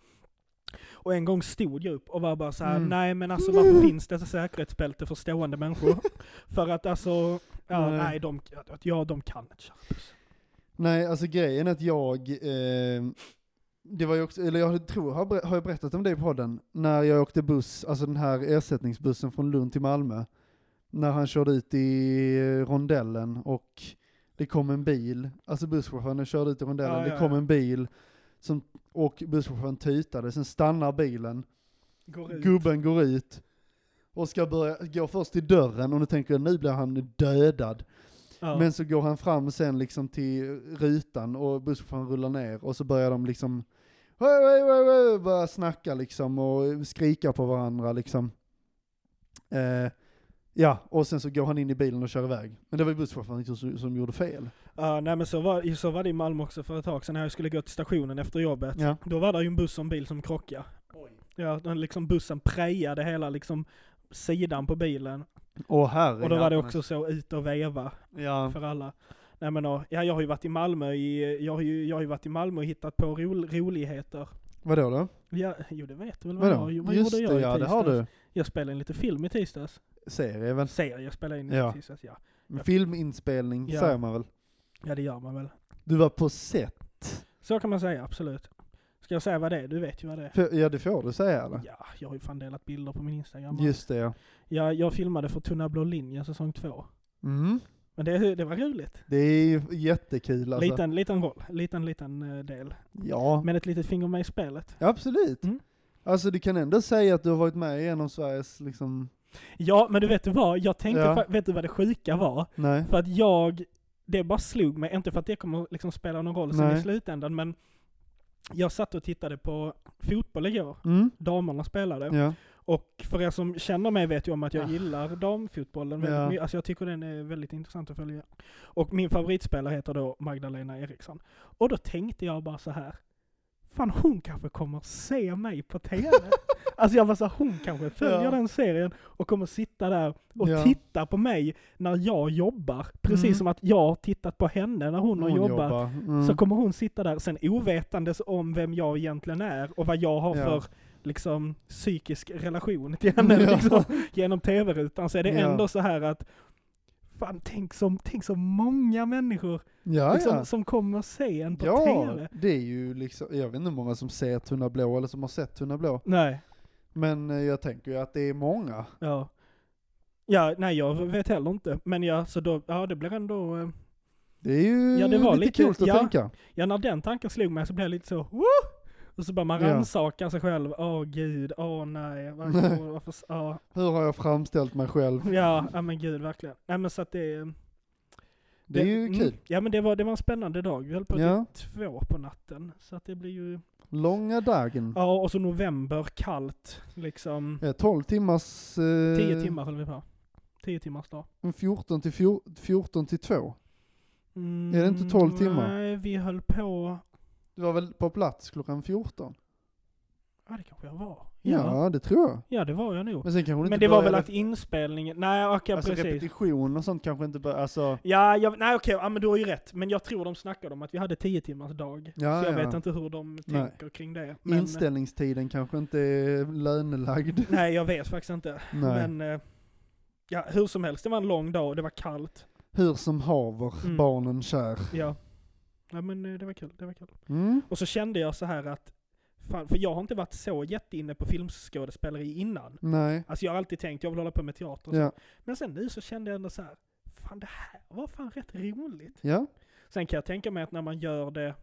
Och en gång stod jag upp och var bara så här:
Mm.
nej men alltså varför finns dessa säkerhetsbälte för stående människor? för att alltså, ja,
Nej.
nej. de, ja, de kan inte köra buss.
Nej, alltså grejen är att jag... Eh, det var ju också, eller jag tror, har, jag ber- har jag berättat om det i podden? När jag åkte buss, alltså den här ersättningsbussen från Lund till Malmö. När han körde ut i eh, rondellen och det kom en bil, alltså busschauffören körde ut i rondellen,
Ja,
det
ja,
kom
ja.
en bil som, och busschauffören tutade, sen stannar bilen,
Går ut.
gubben går ut och ska börja, gå först till dörren och nu tänker jag nu blir han dödad.
Ja.
Men så går han fram sen liksom till rutan och busschauffören rullar ner och så börjar de liksom "Hej, hej, hej, hej", börja snacka liksom och skrika på varandra liksom. Eh, ja, och sen så går han in i bilen och kör iväg. Men det var ju busschauffören som, som gjorde fel.
Ja, nej men så var, så var det i Malmö också för ett tag sedan när jag skulle gå till stationen efter jobbet.
Ja.
Då var det ju en buss och en bil som krockade. Ja, den liksom bussen prejade hela liksom sidan på bilen.
Och här
Och då var det också så ut och veva
Ja.
för alla. Nej men och, ja, jag har ju varit i Malmö i, jag har ju, jag har ju varit i Malmö och hittat på rol, roligheter.
Vadå då?
Ja, jo det vet du väl vad jag
Vadå?
har- jo, vad
Just
gjorde jag
det,
i
ja det
tisdags?
har du.
Jag spelade in lite film i tisdags.
Serie väl?
Säger jag spelade in
Ja.
i tisdags, ja.
Men Filminspelning
Ja.
säger man väl?
Ja det gör man väl.
Du var på set.
Så kan man säga, absolut. Ska jag säga vad det är? Du vet ju vad det är.
För, ja det får du säga eller?
Ja, jag har ju fan delat bilder på min Instagram.
Just det ja.
Ja, jag filmade för Tunna blå linjen säsong två.
Mm.
Men det, det var roligt.
Det är ju jättekul alltså.
Liten, liten roll, liten, liten eh, del.
Ja,
Men ett litet finger med i spelet.
absolut.
Mm.
Alltså du kan ändå säga att du har varit med i en av Sveriges liksom,
Ja, men du vet du vad? Jag tänkte,
Ja.
fa- vet du vad det sjuka var?
nej.
För att jag, det bara slog mig, inte för att det kommer liksom spela någon roll sen
Nej.
i slutändan, men jag satt och tittade på fotboll igår.
Mm.
Damerna spelade.
Ja.
Och för er som känner mig vet ju om att jag
Ah.
gillar damfotbollen väldigt
Ja.
mycket. Alltså jag tycker den är väldigt intressant att följa. Och min favoritspelare heter då Magdalena Eriksson. Och då tänkte jag bara så här. Fan hon kanske kommer se mig på TV. alltså jag var så här, hon kanske följer
Ja.
den serien och kommer sitta där och
Ja.
titta på mig när jag jobbar. Precis
Mm.
som att jag har tittat på henne när hon, har jobbat.
Mm.
Så kommer hon sitta där, sen ovetandes om vem jag egentligen är och vad jag har
Ja.
för liksom, psykisk relation till henne
Ja.
liksom, genom tv-rutan. Så är det
Ja.
ändå så här att, fan tänk så, tänk så många människor
ja,
liksom,
ja.
som kommer se en på
ja,
tv.
det är ju liksom, jag vet inte hur många som ser Tunna Blå eller som har sett Tunna Blå.
Nej,
Men eh, jag tänker ju att det är många.
ja. Ja, nej jag vet heller inte. Men ja, så då, ja det blir ändå, eh,
Det är ju
Ja, det var
lite
lite-
kul att
ja.
tänka.
ja när den tanken slog mig så blev jag lite så, Woo! och så börjar man
Ja.
rannsaka sig själv, åh gud, åh nej, varför, varför, ja.
Hur har jag framställt mig själv?
Ja, ja men gud verkligen. Nej men så att det... Det,
Det är ju
mm,
kul.
Ja men det var, det var en spännande dag. Vi höll på
Ja.
till två på natten. Så att det blir ju...
Långa dagen.
Ja och så november, kallt liksom.
Ja, 12 timmars... Eh,
Tio timmar höll vi på. Tio timmars dag.
14 till, 14, 14 till 2.
Mm,
Är det inte 12 timmar?
Nej, vi höll på...
Du var väl på plats klockan 14?
Ja det kanske jag var.
Ja,
Ja,
det tror jag.
ja det var jag nog.
Men sen kanske hon inte
Men det var väl
började-
att inspelningen... Nej okej
Alltså
precis.
repetition och sånt kanske inte började, alltså...
Ja, jag, nej okej, ja, men du har ju rätt. Men jag tror de snackade om att vi hade tio timmars dag.
Ja,
så jag
ja.
vet inte hur de
Nej.
tänker kring det. Men,
Inställningstiden kanske inte är lönelagd.
Nej, jag vet faktiskt inte.
Nej.
Men eh, ja, hur som helst, det var en lång dag och det var kallt.
Hur som haver,
Mm.
barnen kär.
Ja, ja men eh, det var kul. Det var kul.
Mm.
Och så kände jag så här att, fan, för jag har inte varit så jätteinne på filmskådespeleri innan.
Nej.
Alltså jag har alltid tänkt, jag vill hålla på med teater. och så.
Ja.
Men sen nu så kände jag ändå så här, fan det här var fan rätt roligt.
ja.
Sen kan jag tänka mig att när man gör det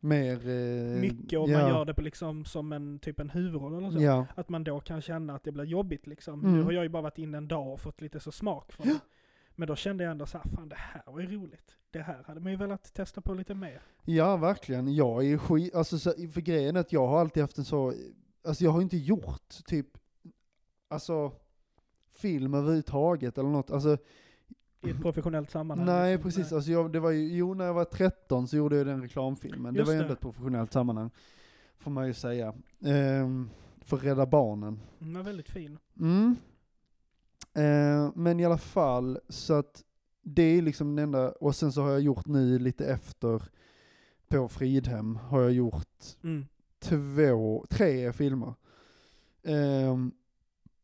Mer... Eh,
mycket och
ja.
man gör det på liksom som en typ en huvudroll eller så.
Ja.
Att man då kan känna att det blir jobbigt liksom.
Mm.
Nu har jag ju bara varit inne en dag och fått lite så smak för det. Men då kände jag ändå så här, fan det här var ju roligt. Det här hade man ju velat testa på lite mer.
Ja, verkligen. Jag är ju skit, alltså så, för grejen är att jag har alltid haft en så, alltså jag har inte gjort typ, alltså film överhuvudtaget eller något. Alltså,
I ett professionellt sammanhang.
nej
liksom.
precis, alltså jag, det var ju, jo när jag var 13 så gjorde jag den reklamfilmen.
Just
det var ju
det.
ändå ett professionellt sammanhang, får man ju säga. Ehm, för Rädda Barnen.
Den var väldigt fin.
Mm. Eh, men i alla fall, så att det är liksom den enda, och sen så har jag gjort nu lite efter, på Fridhem har jag gjort
Mm.
två, tre filmer. Ehm,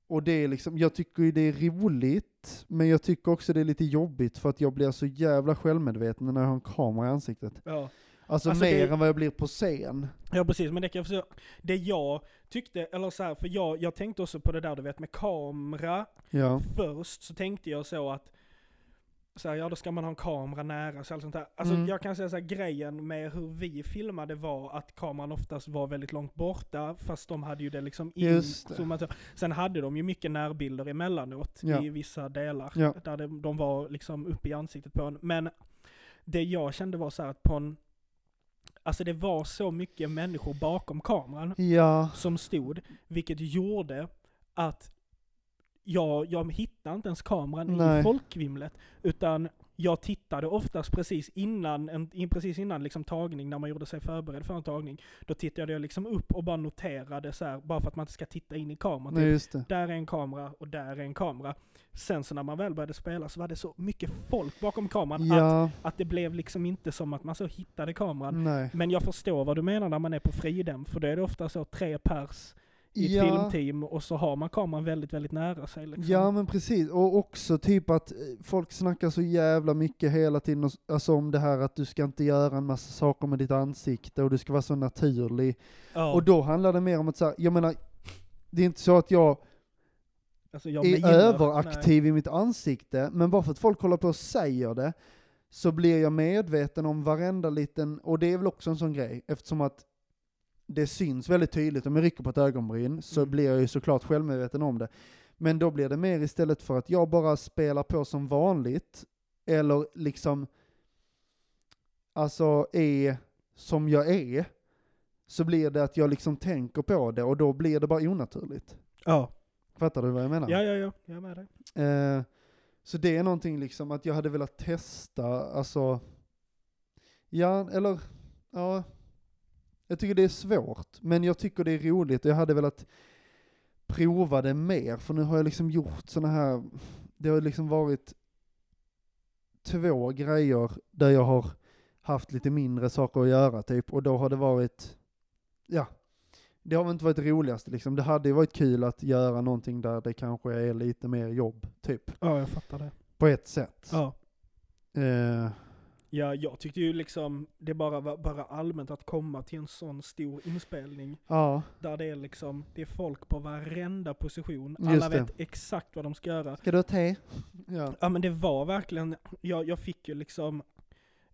och det är liksom, jag tycker ju det är roligt, men jag tycker också det är lite jobbigt för att jag blir så jävla självmedveten när jag har en kamera i ansiktet.
Ja.
Alltså,
Alltså,
mer
det-
än vad jag blir på scen.
ja, precis. Men det kan jag förstå. Det jag tyckte, eller så här, för jag, jag tänkte också på det där du vet med kamera.
Ja.
Först så tänkte jag så att så här, ja då ska man ha en kamera nära så allt sånt där. Alltså
Mm.
jag kan säga så här, grejen med hur vi filmade var att kameran oftast var väldigt långt borta fast de hade ju det liksom
Just det.
inzoomat. Sen hade de ju mycket närbilder emellanåt
Ja.
i vissa delar
Ja.
där de, de var liksom uppe i ansiktet på en. Men det jag kände var så här att på en, alltså det var så mycket människor bakom kameran
Ja.
som stod, vilket gjorde att jag, jag hittade inte ens kameran
Nej.
i folkvimlet, utan jag tittade oftast precis innan, en, in, precis innan liksom tagning, när man gjorde sig förberedd för en tagning, då tittade jag liksom upp och bara noterade så här, bara för att man inte ska titta in i kameran.
Nej,
Typ.
just det.
Där är en kamera och där är en kamera. Sen så när man väl började spela så var det så mycket folk bakom kameran att,
Ja,
att det blev liksom inte som att man så hittade kameran.
nej.
Men jag förstår vad du menar när man är på fridem, för då är det ofta så tre pers i ett
Ja.
filmteam och så har man kameran väldigt, väldigt nära sig. Liksom.
Ja men precis, och också typ att eh, folk snackar så jävla mycket hela tiden, och s- alltså om det här att du ska inte göra en massa saker med ditt ansikte och du ska vara så naturlig.
Ja.
Och då handlar det mer om att så här, jag menar, det är inte så att jag
Alltså, jag
är
gillar-
överaktiv i mitt ansikte, men bara för att folk håller på och säger det så blir jag medveten om varenda liten, och det är väl också en sån grej, eftersom att det syns väldigt tydligt, om jag rycker på ett ögonbryn så
Mm.
blir jag ju såklart självmedveten om det. Men då blir det mer istället för att jag bara spelar på som vanligt, eller liksom, alltså är som jag är, så blir det att jag liksom tänker på det och då blir det bara onaturligt.
Nej. Ja.
Fattar du vad jag menar?
ja, ja, ja, jag är med dig.
Eh, så det är någonting liksom att jag hade velat testa, alltså, ja, eller, ja, jag tycker det är svårt, men jag tycker det är roligt och jag hade velat prova det mer, för nu har jag liksom gjort sådana här, det har liksom varit två grejer där jag har haft lite mindre saker att göra typ, och då har det varit, ja, det har väl inte varit det roligaste liksom. Det hade ju varit kul att göra någonting där det kanske är lite mer jobb, typ.
Ja, jag fattar det.
På ett sätt.
Ja.
Eh,
Ja, jag tyckte ju liksom det bara var bara allmänt att komma till en sån stor inspelning
ja,
där det är liksom, det är folk på varenda position,
Just
alla
det.
vet exakt vad de ska göra.
ska du ha te? Ja.
Ja men det var verkligen, jag, jag fick ju liksom,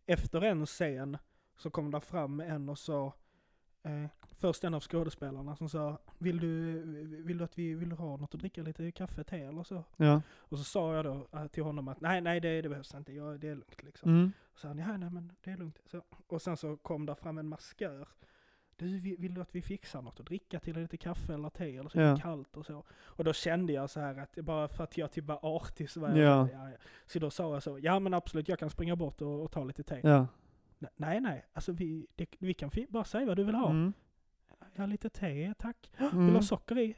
efter en scen så kom där fram en och sa, eh, först en av skådespelarna som sa, vill du, vill du att vi vill du ha något att dricka, lite kaffe, te eller så?
Ja.
Och så sa jag då eh, till honom att nej, nej det, det behövs inte, jag, det är lugnt liksom.
Mm.
Så han, ja nej men det är lugnt. Så, och sen så kom där fram en maskör. Du, vi- vill du att vi fixar något att dricka till? Lite kaffe eller te eller så?
Ja.
Kallt och så. Och då kände jag så här att, det bara för att jag typ var artig så var jag,
Ja.
ja, ja. Så då sa jag så, ja men absolut jag kan springa bort och, och ta lite te.
Ja.
"Ne- Nej nej, alltså vi, det, vi kan fi- bara säga vad du vill ha.
Mm.
Ja lite te tack. Vill du
Mm.
ha socker i?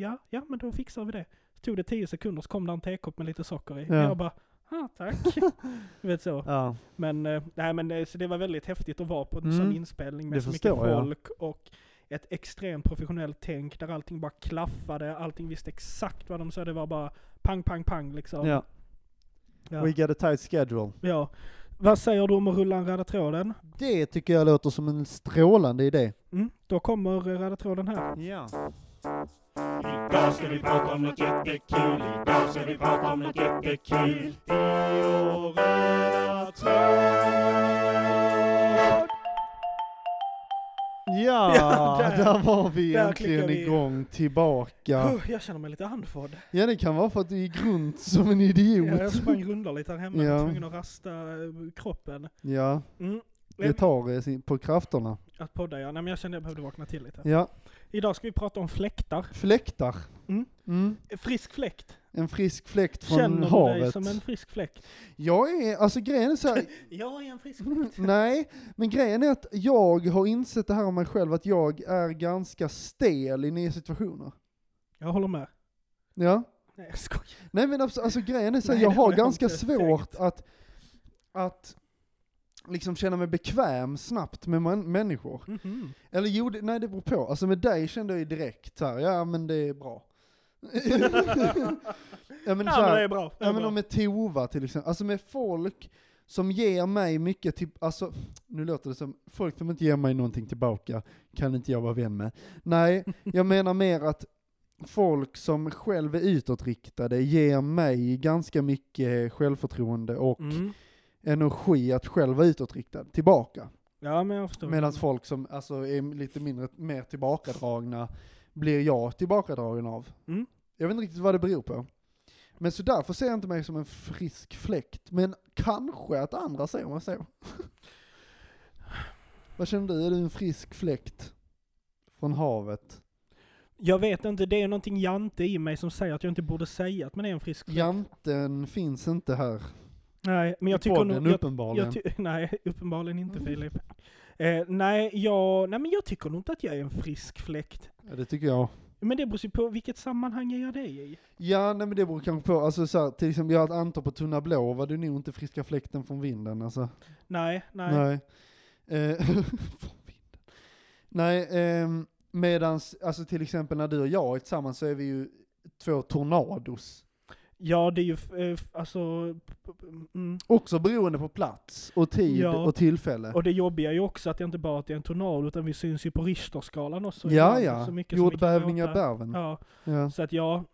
Ja, ja men då fixar vi det. Så tog det tio sekunder så kom där en tekopp med lite socker i.
Ja.
Jag bara, ah, tack. du vet så.
Ja.
Men, eh, nej, men eh, så det var väldigt häftigt att vara på en
Mm.
sån inspelning med
Det
så mycket
förstår jag.
folk och ett extremt professionellt tänk där allting bara klaffade, allting visste exakt vad de sa, det var bara pang, pang, pang liksom.
ja.
Ja.
We got a tight schedule.
Ja. Vad säger du om att rulla en röda tråden?
Det tycker jag låter som en strålande idé.
Mm, då kommer eh, röda tråden här.
Ja.
Idag ska vi prata om något jättekul. Idag ska vi prata om något jättekul. I vår röda tråd.
Ja,
Ja, där.
där, var vi
Där
äntligen
klickar vi.
igång tillbaka.
Oh, jag känner mig lite andfådd.
Ja, det kan vara för att du gick runt som en idiot.
Ja, jag sprang rundor lite här hemma, jag
Ja.
var tvungen att rasta eh, kroppen.
Ja,
Mm.
det tar eh, sin- på krafterna.
Att podda ja, nej men jag kände jag behövde vakna till lite.
Ja,
Idag ska vi prata om fläktar.
fläktar.
Mm.
Mm.
Frisk fläkt.
En frisk fläkt från
Känner du
havet.
dig som en frisk fläkt?
Jag är, alltså grejen är så här,
Jag är en frisk fläkt.
nej, men grejen är att jag har insett det här om mig själv, att jag är ganska stel i nya situationer.
Jag håller med.
Ja.
Nej, jag skojar.
Nej men alltså, alltså grejen är så här,
Nej,
jag
det
har
har jag
ganska
inte
svårt att, att liksom känna mig bekväm snabbt med man, människor.
Mhm.
Eller jo, det, nej det beror på. Alltså med dig kände jag ju direkt så här, ja men det är bra. ja men, så
Ja, men
här,
det är bra. Det är
Ja men
bra.
om med Tova till exempel, alltså med folk som ger mig mycket typ, alltså nu låter det som, folk som inte ger mig någonting tillbaka kan inte jag vara vän med. Nej, jag menar mer att folk som själv är utåtriktade ger mig ganska mycket självförtroende och
Mm.
energi att själv vara utåtriktad tillbaka.
Ja, men jag förstår.
Medan folk som alltså är lite mindre, mer tillbakadragna blir jag tillbakadragen av.
Mm.
Jag vet inte riktigt vad det beror på. Men så därför ser jag inte mig som en frisk fläkt, men kanske att andra ser mig så. vad känner du, är du en frisk fläkt? Från havet?
Jag vet inte, det är någonting jante i mig som säger att jag inte borde säga att man är en frisk fläkt.
Janten finns inte här.
Nej, men jag
I
tycker
podden
nog... Jag,
uppenbarligen.
jag ty- nej, uppenbarligen inte Filip. Eh, nej, jag, nej, men jag tycker nog inte att jag är en frisk fläkt.
ja, det tycker jag.
Men det beror ju på vilket sammanhang jag gör det i.
Ja, nej men det beror kanske på, alltså så här, till exempel jag hade Anton på Tunna Blå, var du nog inte friska fläkten från vinden alltså.
Nej, nej.
Nej. Eh, från vinden. Nej, ehm, medans, alltså till exempel när du och jag är tillsammans så är vi ju två tornados.
Ja, det är ju, f- eh, f- alltså, p- p- mm.
Också beroende på plats och tid
Ja.
och tillfälle.
och det jobbiga är ju också att jag inte bara att jag är en tonal, utan vi syns ju på Richterskalan också.
ja,
ibland,
ja.
mycket som vi kan
Jordbävningar,
gråta.
bärven. Ja.
Ja,
Ja.
så att jag,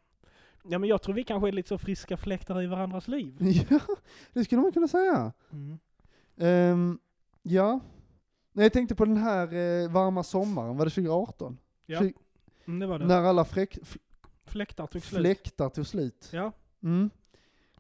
ja men jag tror vi kanske är lite så friska fläktar i varandras liv.
det skulle man kunna säga.
Mm.
Ehm, ja. Nej, jag tänkte på den här eh, varma sommaren, var det 2018?
Ja,
Tjugo-
Mm, det var det.
När alla fläck, f-
Fläktar tog slut.
fläktar tog slut.
Ja.
Mm.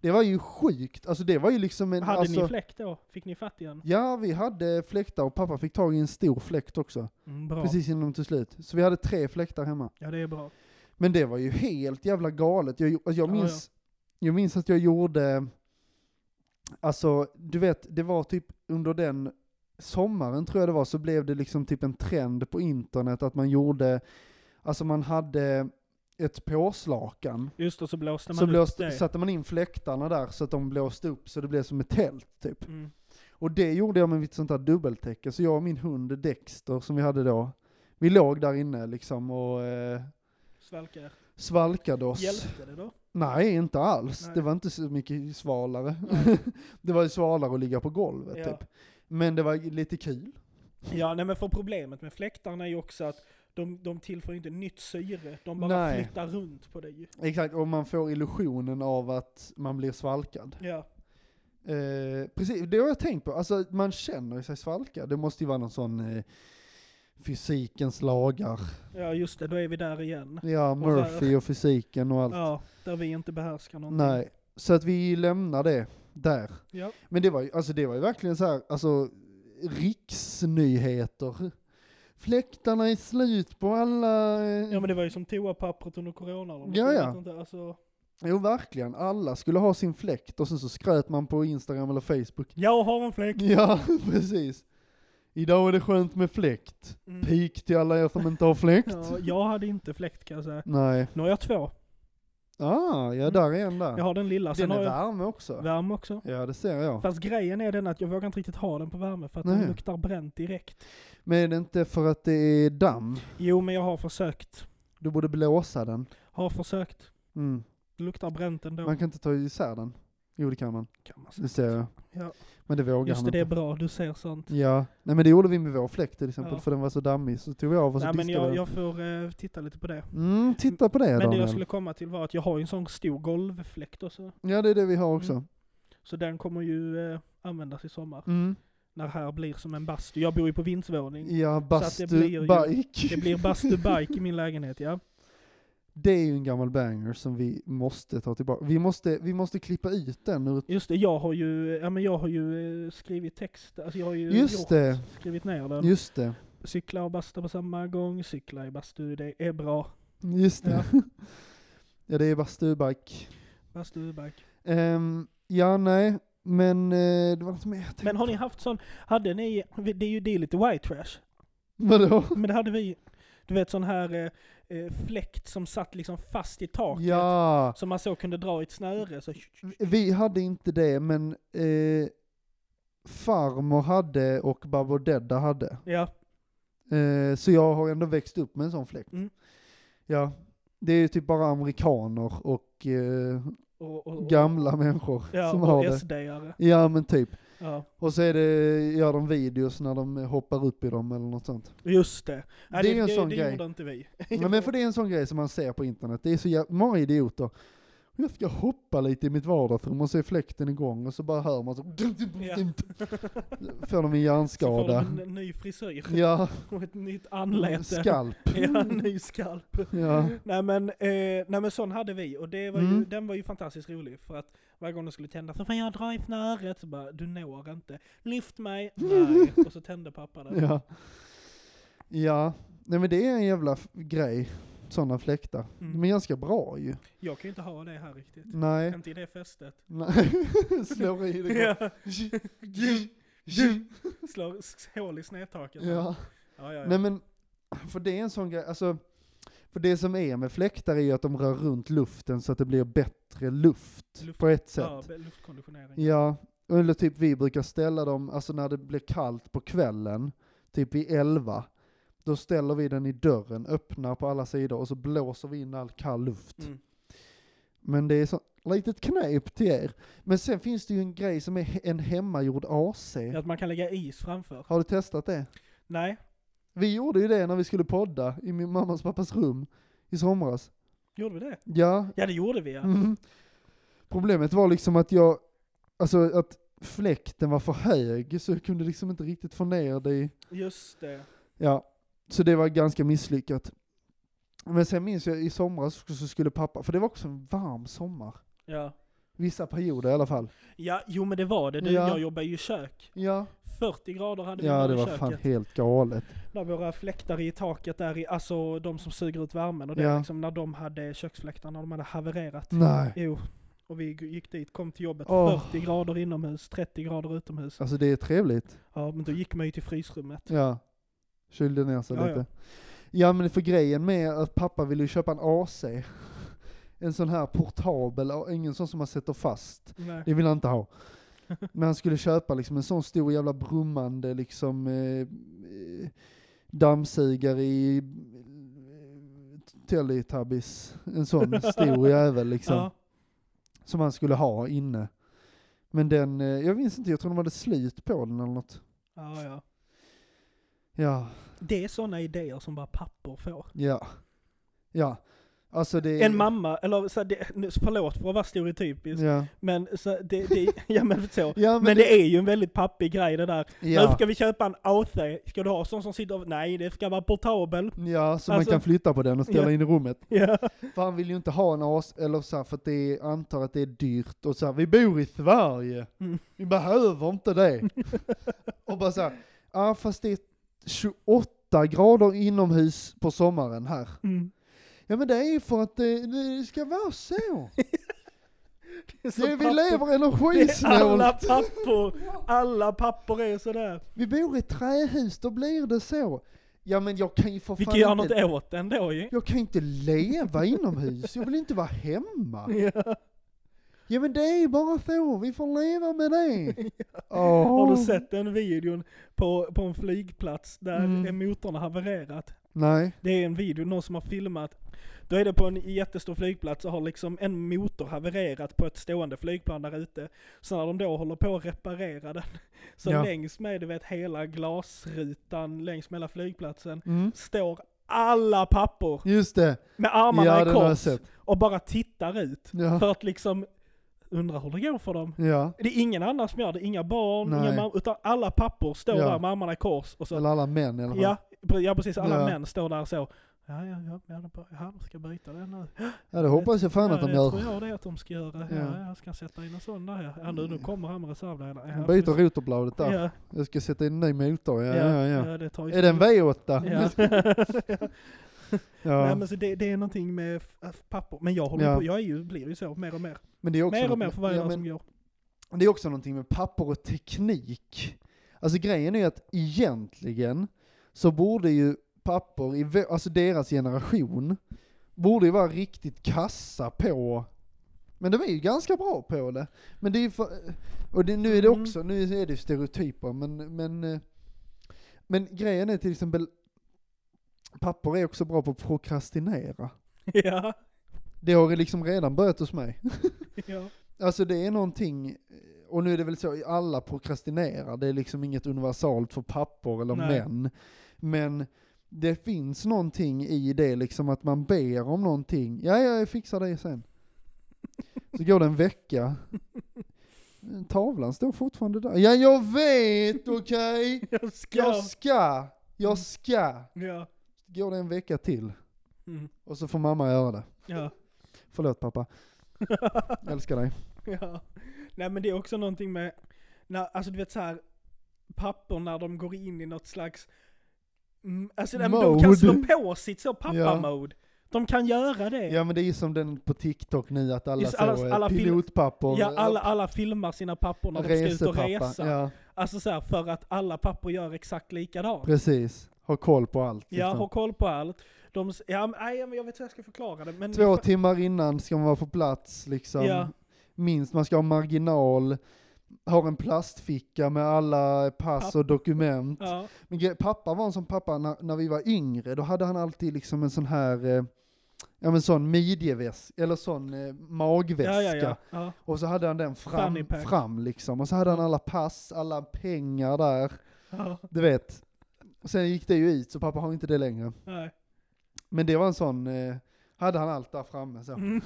Det var ju sjukt, alltså det var ju liksom en...
Hade
alltså,
ni fläkt då? Fick ni fatt i en?
Ja, vi hade fläktar och pappa fick tag i en stor fläkt också.
Mm, bra.
Precis innan de tog slut. Så vi hade tre fläktar hemma.
Ja, det är bra.
Men det var ju helt jävla galet. Jag, alltså jag,
Ja,
minns, jag minns att jag gjorde, alltså du vet, det var typ under den sommaren tror jag det var, så blev det liksom typ en trend på internet att man gjorde, alltså man hade ett påslakan.
Just då så blåste man
Så
ut
blåste,
det.
satte man in fläktarna där så att de blåste upp så det blev som ett tält typ.
Mm.
Och det gjorde jag med ett sånt där dubbeltäcke, så jag och min hund Dexter som vi hade då, vi låg där inne liksom och eh,
Svalkar.
svalkade oss.
Hjälpte det då?
Nej, inte alls.
Nej.
Det var inte så mycket svalare.
Nej.
det var ju svalare att ligga på golvet
Ja.
typ. Men det var lite kul.
Ja, nej men för problemet med fläktarna är ju också att de, de tillför inte nytt syre, de bara
Nej.
flyttar runt på det ju.
Exakt, och man får illusionen av att man blir svalkad.
Ja,
Eh, precis, det har jag tänkt på. Alltså man känner sig svalkad. Det måste ju vara någon sån eh, fysikens lagar.
ja just det, då är vi där igen.
Ja,
så här-
Murphy och fysiken och allt.
Ja, där vi inte behärskar någonting.
Nej, så att vi lämnar det där.
Ja,
Men det var ju, alltså det var ju verkligen så här, alltså riksnyheter. Fläktarna är slut på alla... eh,
ja men det var ju som toapappret under corona. Eller något,
Ja,
jag
ja.
vet Inte, alltså.
Jo verkligen, alla skulle ha sin fläkt och sen så skröt man på Instagram eller Facebook.
Jag har en fläkt!
Ja, precis. Idag är det skönt med fläkt.
Mm.
Pik till alla er som inte har fläkt.
Ja, jag hade inte fläkt kan jag säga.
Nej.
Nu har jag två.
Ah, ja
Mm.
där är en där.
Jag har den lilla, sen
Den
har
är
jag
varm också.
värme också.
Ja det ser jag.
Fast grejen är den att jag vågar inte riktigt ha den på värme för att
Nej.
den luktar bränt direkt.
Men är det inte för att det är damm?
Jo men jag har försökt.
Du borde blåsa den.
Har försökt.
Mm.
Det luktar bränt ändå.
Man kan inte ta isär den. Jo det kan man.
kan man säga.
Det ser jag.
Ja.
Men det vågar
Just
han
det, det är
inte. Mm.
bra. Du ser sånt.
Ja, nej men det gjorde vi med vår fläkt till exempel
Ja.
för den var så dammig så tog vi av och så
Nej men
diskade vi
jag,
den.
jag får eh, titta lite på det.
Mm, titta på det
Men det
Daniel.
jag skulle komma till var att jag har ju en sån stor golvfläkt också.
Ja det är det vi har också.
Mm. Så den kommer ju eh, användas i sommar.
Mm.
När här blir som en bastu. Jag bor ju på vindsvåning.
Ja,
det blir ju-
bastu bike.
Det blir bastubike i min lägenhet ja.
Det är ju en gammal banger som vi måste ta tillbaka. Vi måste, vi måste klippa ut den ur...
Just det, jag har ju, ja, men jag har ju eh, skrivit text, alltså jag har ju
Just
gjort,
det.
skrivit ner den.
Just det.
Cykla och basta på samma gång, cykla i bastu, det är bra.
Just det.
Ja.
Ja, det är bastu bike.
Bastubike.
Ehm, ja, nej. Men eh, det var inte mer jag tänkte
Men har ni haft sån, hade ni, det är ju det är lite white trash,
Vadå?
men det hade vi, du vet sån här eh, eh, fläkt som satt liksom fast i taket.
Ja.
Som man så kunde dra i ett snöre. Så,
Vi hade inte det, men eh, farmor hade och Barbro Dedda hade.
ja,
Eh, så jag har ändå växt upp med en sån fläkt.
Mm.
Ja, det är ju typ bara amerikaner och eh,
och, och, och,
gamla människor
Oh. ja,
som
och
har det.
SD-are.
Ja men typ.
Ja,
Och så är det, gör de videos när de hoppar upp i dem eller något sånt.
just det. Ja,
Det är ju en sån
det,
grej.
Det gjorde inte vi.
Ja, men för det är en sån grej som man ser på internet. Det är så jävla många idioter. Jag ska hoppa lite i mitt vardagsrum och så är fläkten igång och så bara hör man så...
Ja.
Får de en
Så får de
hjärnskada.
en, en ny frisyr.
Ja,
Och ett nytt anlete.
skalp.
Ja, en ny skalp.
Ja.
Nej men, eh, nej men sån hade vi och det var ju,
Mm.
den var ju fantastiskt rolig för att varje gång den skulle tända så får jag dra i snöret, så bara du når inte, lyft mig, nej, och så tände pappa den.
Ja. Ja. Nej men det är en jävla f- grej. köpt sådana fläktar.
Mm.
De är ganska bra ju.
Jag kan ju inte ha det här riktigt.
Nej.
Inte i det fästet.
Nej. Slår i det.
Ja,
Ja.
slår s- hål i snedtaket.
ja.
ja, ja.
Nej men, för det är en sån grej, alltså, för det som är med fläktar är ju att de rör runt luften så att det blir bättre luft,
Luft-
på ett
ja
sätt.
be- luftkonditionering.
Ja, eller typ vi brukar ställa dem, alltså när det blir kallt på kvällen, typ vid elva, då ställer vi den i dörren, öppnar på alla sidor och så blåser vi in all kall luft.
Mm.
Men det är så litet knep till er. Men sen finns det ju en grej som är he- en hemmagjord AC.
Att man kan lägga is framför.
Har du testat det?
Nej,
Vi gjorde ju det när vi skulle podda i min mammas och pappas rum i somras.
gjorde vi det?
Ja.
Ja, det gjorde vi ja.
Mm. Problemet var liksom att jag, alltså att fläkten var för hög så jag kunde liksom inte riktigt få ner det i,
Just det.
ja. Så det var ganska misslyckat. Men sen minns jag i somras så skulle pappa, för det var också en varm sommar.
Ja.
Vissa perioder i alla fall.
ja, jo men det var det. Du,
Ja.
Jag jobbar ju i kök.
Ja,
40 grader hade vi
ja
bara
det
i
var
köket.
fan helt galet.
Där våra fläktar i taket där i, alltså de som suger ut värmen och det
Ja.
liksom när de hade köksfläktarna, de hade havererat.
Nej,
Jo. Och vi g- gick dit, kom till jobbet,
Åh.
40 grader inomhus, 30 grader utomhus.
alltså det är trevligt.
Ja, men då gick man ju till frysrummet.
Ja, kylde ner sig
Ja,
lite. Ja men för grejen med att pappa ville ju köpa en AC, en sån här portabel, ingen sån som man sätter fast,
Nej.
det vill han inte ha. Men han skulle köpa liksom en sån stor jävla brummande liksom eh, eh, dammsugare i eh, Teletubbies, en sån stor jävel liksom,
Ja,
som han skulle ha inne. Men den, eh, jag minns inte, jag tror de hade slut på den eller något.
ja, ja.
Ja,
Det är sådana idéer som bara pappor får.
Ja. Ja. Alltså det
En mamma, eller så här, det, nu, förlåt för att vara stereotypisk,
Ja.
men så, det, det, ja men så.
Ja
Men det är ju en väldigt pappig grej det där. Nu
ja.
ska vi köpa en AC, ska du ha sån som sitter, nej det ska vara portabel.
ja, så
Alltså-
man kan flytta på den och ställa
Ja.
in i rummet.
Ja.
För han vill ju inte ha en as, eller så här, för att det är, antar att det är dyrt och så här, vi bor i Sverige.
Mm.
Vi behöver inte det. och bara så här, ja fast det är 28 grader inomhus på sommaren här.
Mm.
Ja men det är för att det, det ska vara så.
Så
Det, vi
pappor-
lever
det är alla
energisnålt.
pappor, alla pappor är sådär.
Vi bor i ett trähus, då blir det så. Ja men jag kan ju för
Vi
fan
kan göra
inte-
något åt den då ju.
Jag kan inte leva inomhus, jag vill inte vara hemma.
Ja.
Ja men det är bara så, vi får leva med det. Åh.
Har du sett den videon på, på en flygplats där
Mm.
motorn har havererat?
Nej.
Det är en video, någon som har filmat. Då är det på en jättestor flygplats och har liksom en motor havererat på ett stående flygplan där ute. Så när de då håller på att reparera den, så
Ja.
längs med du vet, hela glasrutan längs med hela flygplatsen
Mm.
står alla pappor
Just det.
med armarna
ja
i
den har jag
kors
sett.
och bara tittar ut.
Ja.
För att liksom undra hur det går för dem.
ja.
Det är ingen annan som gör det, inga barn,
Nej.
inga mam- utan alla pappor står
Ja.
där med armarna i kors och så
Eller alla män i alla fall.
Ja, pre- ja precis. Alla
Ja.
män står där så. Ja, ja, ja, ja, de bara, ja, de ska byta den nu.
Ja, det hoppas jag fan
ja,
att de
det
gör.
tror jag det är att de ska göra. Ja.
Ja.
jag ska sätta in en sån där. ja. Ja, nu, nu kommer han med reservdelarna. Ja,
Byter
precis.
rotorbladet där.
ja,
Jag ska sätta in en ny motor, ja
ja,
ja ja.
det tar ju
Är det en
slut.
V8?
Ja.
Ja.
Nej men så det, det är någonting med f- f- papper. Men jag håller
Ja.
på, jag är ju, blir ju så mer och mer.
Men det är också
Mer och
något-
mer för varje
ja,
dag
men-
som går.
Men Det är också någonting med papper och teknik. Alltså grejen är att egentligen så borde ju papper i vå- alltså deras generation, borde ju vara riktigt kassa på, men de är ju ganska bra på det. Men det är ju för, och det, nu är det
Mm.
också, nu är det ju stereotyper, men, men, eh, men grejen är till exempel, papper är också bra på att prokrastinera.
Ja,
Det har ju liksom redan börjat hos mig.
ja.
Alltså det är någonting, och nu är det väl så, alla prokrastinerar, det är liksom inget universalt för pappor eller
Nej.
män. Men det finns någonting i det liksom att man ber om någonting, ja ja, jag fixar det sen. Så går det en vecka, tavlan står fortfarande där. Ja jag vet, okej!
Jag ska.
Jag ska, jag ska!
Ja.
Går det en vecka till,
Mm.
och så får mamma göra det.
Ja.
Förlåt pappa, älskar dig.
Ja. Nej men det är också någonting med, när, alltså du vet så här pappor när de går in i något slags, mm, alltså nej, men de kan
Mode.
slå på sitt så pappa-mode. De kan göra det.
Ja men det är ju som den på TikTok nu att alla
Just
så,
alla-
eh,
alla fil-
pilotpapper,
Ja, alla, alla filmar sina pappor när de ska ut och
resepappa.
resa.
Ja,
Alltså så här, för att alla pappor gör exakt likadant.
precis. Har koll på allt.
Ja,
liksom.
har koll på allt. De, s- ja, men- nej, men jag vet hur jag ska förklara det. Men
Två timmar innan ska man vara på plats liksom.
Ja.
Minst, man ska ha marginal. Har en plastficka med alla pass
Papp-
och dokument.
ja,
Men gre- pappa var en sån pappa när, när vi var yngre, då hade han alltid liksom en sån här, eh, ja men sån midjeväska, eller sån eh, magväska.
ja, ja, ja, ja.
Och så hade han den
Fanny
fram,
pack.
fram liksom, och så hade han alla pass, alla pengar där,
ja,
du vet. Och sen gick det ju ut, så pappa har inte det längre.
nej.
Men det var en sån, eh, hade han allt där framme så.
Mm.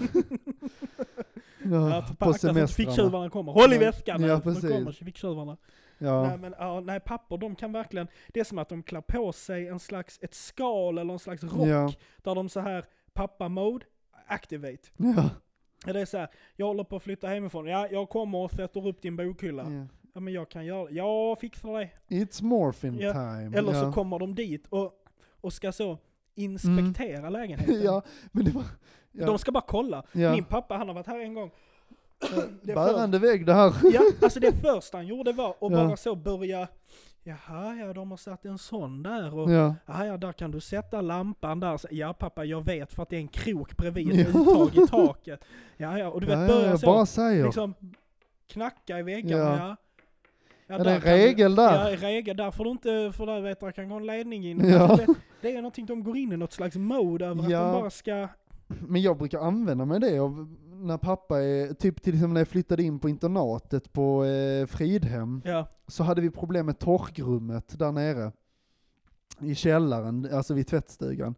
Ja,
Ja, förpackat så att
semestrarna.
ficktjuvarna kommer. Håll i
Ja,
väskan!
ja,
Ja,
precis.
kommer ficktjuvarna. Nej,
Ja,
men, ja, nej, pappor de kan verkligen, det är som att de klär på sig en slags, ett skal eller en slags rock,
Ja.
där de så här, pappa-mode, activate.
ja,
Ja, Det är så här, jag håller på att flytta hemifrån, ja jag kommer och sätter upp din bokhylla.
ja.
Ja men jag kan göra jag fixar det.
It's morphin
Ja,
time.
Eller
ja.
så kommer de dit och, och ska så inspektera lägenheten.
Mm. Ja, men det var... Ja,
De ska bara kolla.
ja.
Min pappa han har varit här en gång. det är
Bärande vägg det här.
Ja, alltså det första han gjorde var att
Ja.
bara så börja, jaha ja de har satt en sån där och
Ja.
jaha "Ah, ja där kan du sätta lampan där. Så, ja pappa jag vet för att det är en krok bredvid
Ja.
ett uttag i taket. Ja ja och du vet
ja,
börja
jag
så.
bara säger.
liksom knacka i väggarna.
Ja.
Ja.
Ja, det
där
är en
kan du-
regel
Ja,
där.
i regel. Där får du inte, för där vet du, kan gå en ledning in.
Ja.
Alltså, det, det är någonting, de går in i något slags mode över
Ja.
att de bara ska...
Men jag brukar använda mig det av när pappa är, typ till exempel när jag flyttade in på internatet på eh, Fridhem,
Ja,
så hade vi problem med torkrummet där nere. I källaren, alltså vid tvättstugan.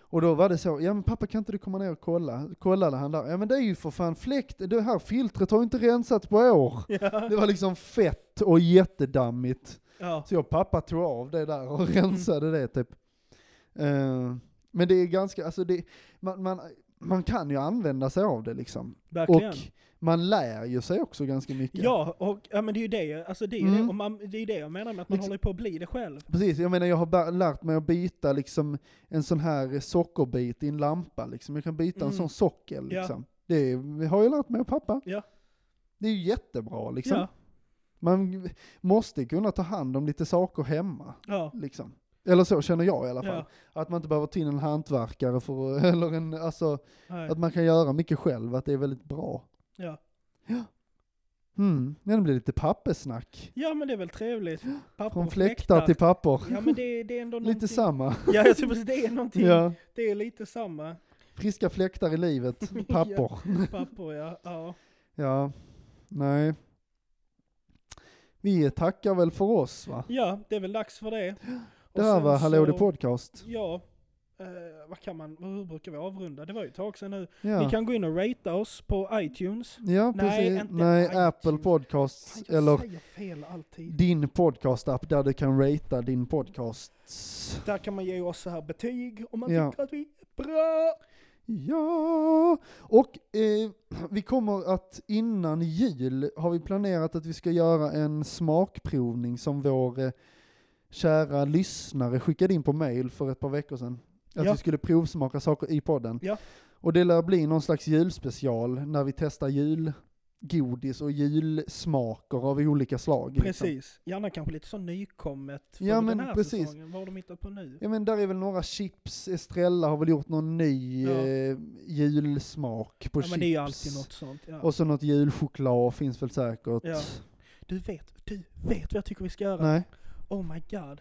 Och då var det så, ja men pappa kan inte du komma ner och kolla? Kollade han där, ja men det är ju för fan fläkt, det här filtret har ju inte rensats på år.
ja,
Det var liksom fett och jättedammigt.
ja.
Så jag och pappa tog av det där och rensade det typ. Eh, men det är ganska, alltså det, man, man, man kan ju använda sig av det liksom.
verkligen.
Och man lär ju sig också ganska mycket.
Ja, och, ja, men det är ju det, alltså det, är ju
Mm.
det, och man, det, är ju det jag menar med att man
Liksom-
håller på att bli det själv.
Precis, jag menar jag har bär- lärt mig att byta liksom en sån här sockerbit i en lampa liksom. Jag kan byta en
Mm.
sån sockel
Ja.
liksom. Det har jag lärt mig av pappa.
Ja.
Det är ju jättebra liksom.
Ja,
Man måste kunna ta hand om lite saker hemma.
ja,
Liksom. Eller så känner jag i alla fall.
ja.
Att man inte behöver ta in en hantverkare för, eller en, alltså,
Nej.
att man kan göra mycket själv, att det är väldigt bra.
Ja.
Ja. Mm, ja, det blir lite pappersnack.
ja, men det är väl trevligt. Papper
Från
och
fläktar till papper.
Ja, men det, det är ändå
Lite
någonting.
samma.
Ja, jag tror precis, det är någonting.
Ja.
Det är lite samma.
Friska fläktar i livet, papper.
Papper, ja. ja.
Ja, nej. Vi tackar väl för oss va?
Ja, det är väl dags för det.
Det
Och
här
sen
var Hallå
så-
det podcast.
Ja, eh, vad kan man, hur brukar vi avrunda? Det var ju ett tag sedan nu. Ni
Ja,
kan gå in och ratea oss på iTunes.
ja
Nej,
precis.
inte
Nej,
iTunes.
Apple Podcasts
Fan, jag
eller
säger fel alltid.
din podcastapp där du kan ratea din podcast.
Där kan man ge oss så här betyg om man
Ja.
tycker att vi är bra.
Ja, och eh, vi kommer att innan jul har vi planerat att vi ska göra en smakprovning som vår eh, kära lyssnare skickade in på mail för ett par veckor sedan. Att
Ja.
vi skulle provsmaka saker i podden.
Ja.
Och det lär bli någon slags julspecial när vi testar julgodis och julsmaker av olika slag. liksom.
Precis. Gärna kanske lite så nykommet för
Ja, men
den här
precis.
säsongen. Vad har de hittat på nu?
Ja men där är väl några chips, Estrella har väl gjort någon ny
Ja.
eh, julsmak på
Ja,
chips.
men det är ju alltid något sånt. Ja.
Och så något julchoklad finns väl säkert.
Ja. Du vet, du vet vad jag tycker vi ska göra?
Nej,
Oh my god.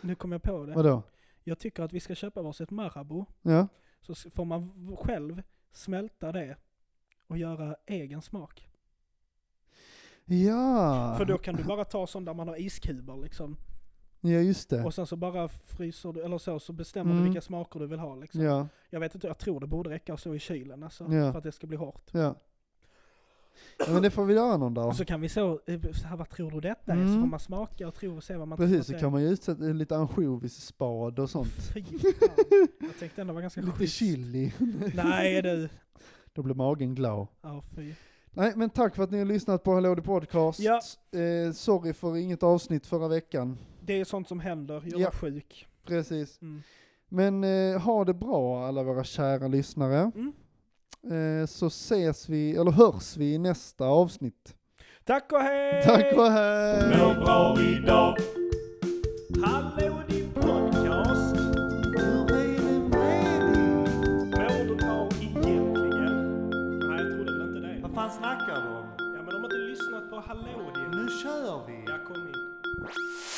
nu kom jag på det.
vadå?
Jag tycker att vi ska köpa varsitt Marabou.
Ja,
Så s- får man v- själv smälta det och göra egen smak.
ja.
För då kan du bara ta sån där man har iskuber liksom.
ja just det.
Och sen så bara fryser du, eller så, så bestämmer
Mm.
du vilka smaker du vill ha liksom.
Ja,
Jag vet inte, jag tror det borde räcka så i kylen alltså.
Ja.
För att det ska bli hårt.
ja. ja. Men det får vi göra någon dag.
Och så kan vi så, eh, så här, vad tror du detta är? Så
Mm.
får man smaka och tro och se vad man
Precis,
tror
så
att
kan man ju utsätta lite ansjovisspad och sånt.
det är. Fy fan. Jag tänkte ändå vara ganska
Lite
schysst.
chili.
Nej du.
Då blir magen glad.
Ja fy.
Nej, men tack för att ni har lyssnat på Hallå The Podcast.
Ja.
Eh, sorry för inget avsnitt förra veckan.
Det är sånt som händer, jag
Ja.
var sjuk.
Precis.
Mm.
Men eh, ha det bra alla våra kära lyssnare.
Mm.
Eh, så ses vi, eller hörs vi i nästa avsnitt.
Tack och hej!
Tack och hej!
Må bra idag.
Hallå din podcast! Mår du bra egentligen? Nej, jag trodde väl inte det.
Vad fan snackar du om?
Ja, men de har inte lyssnat på Hallå din.
Nu kör vi!
Ja, kom in.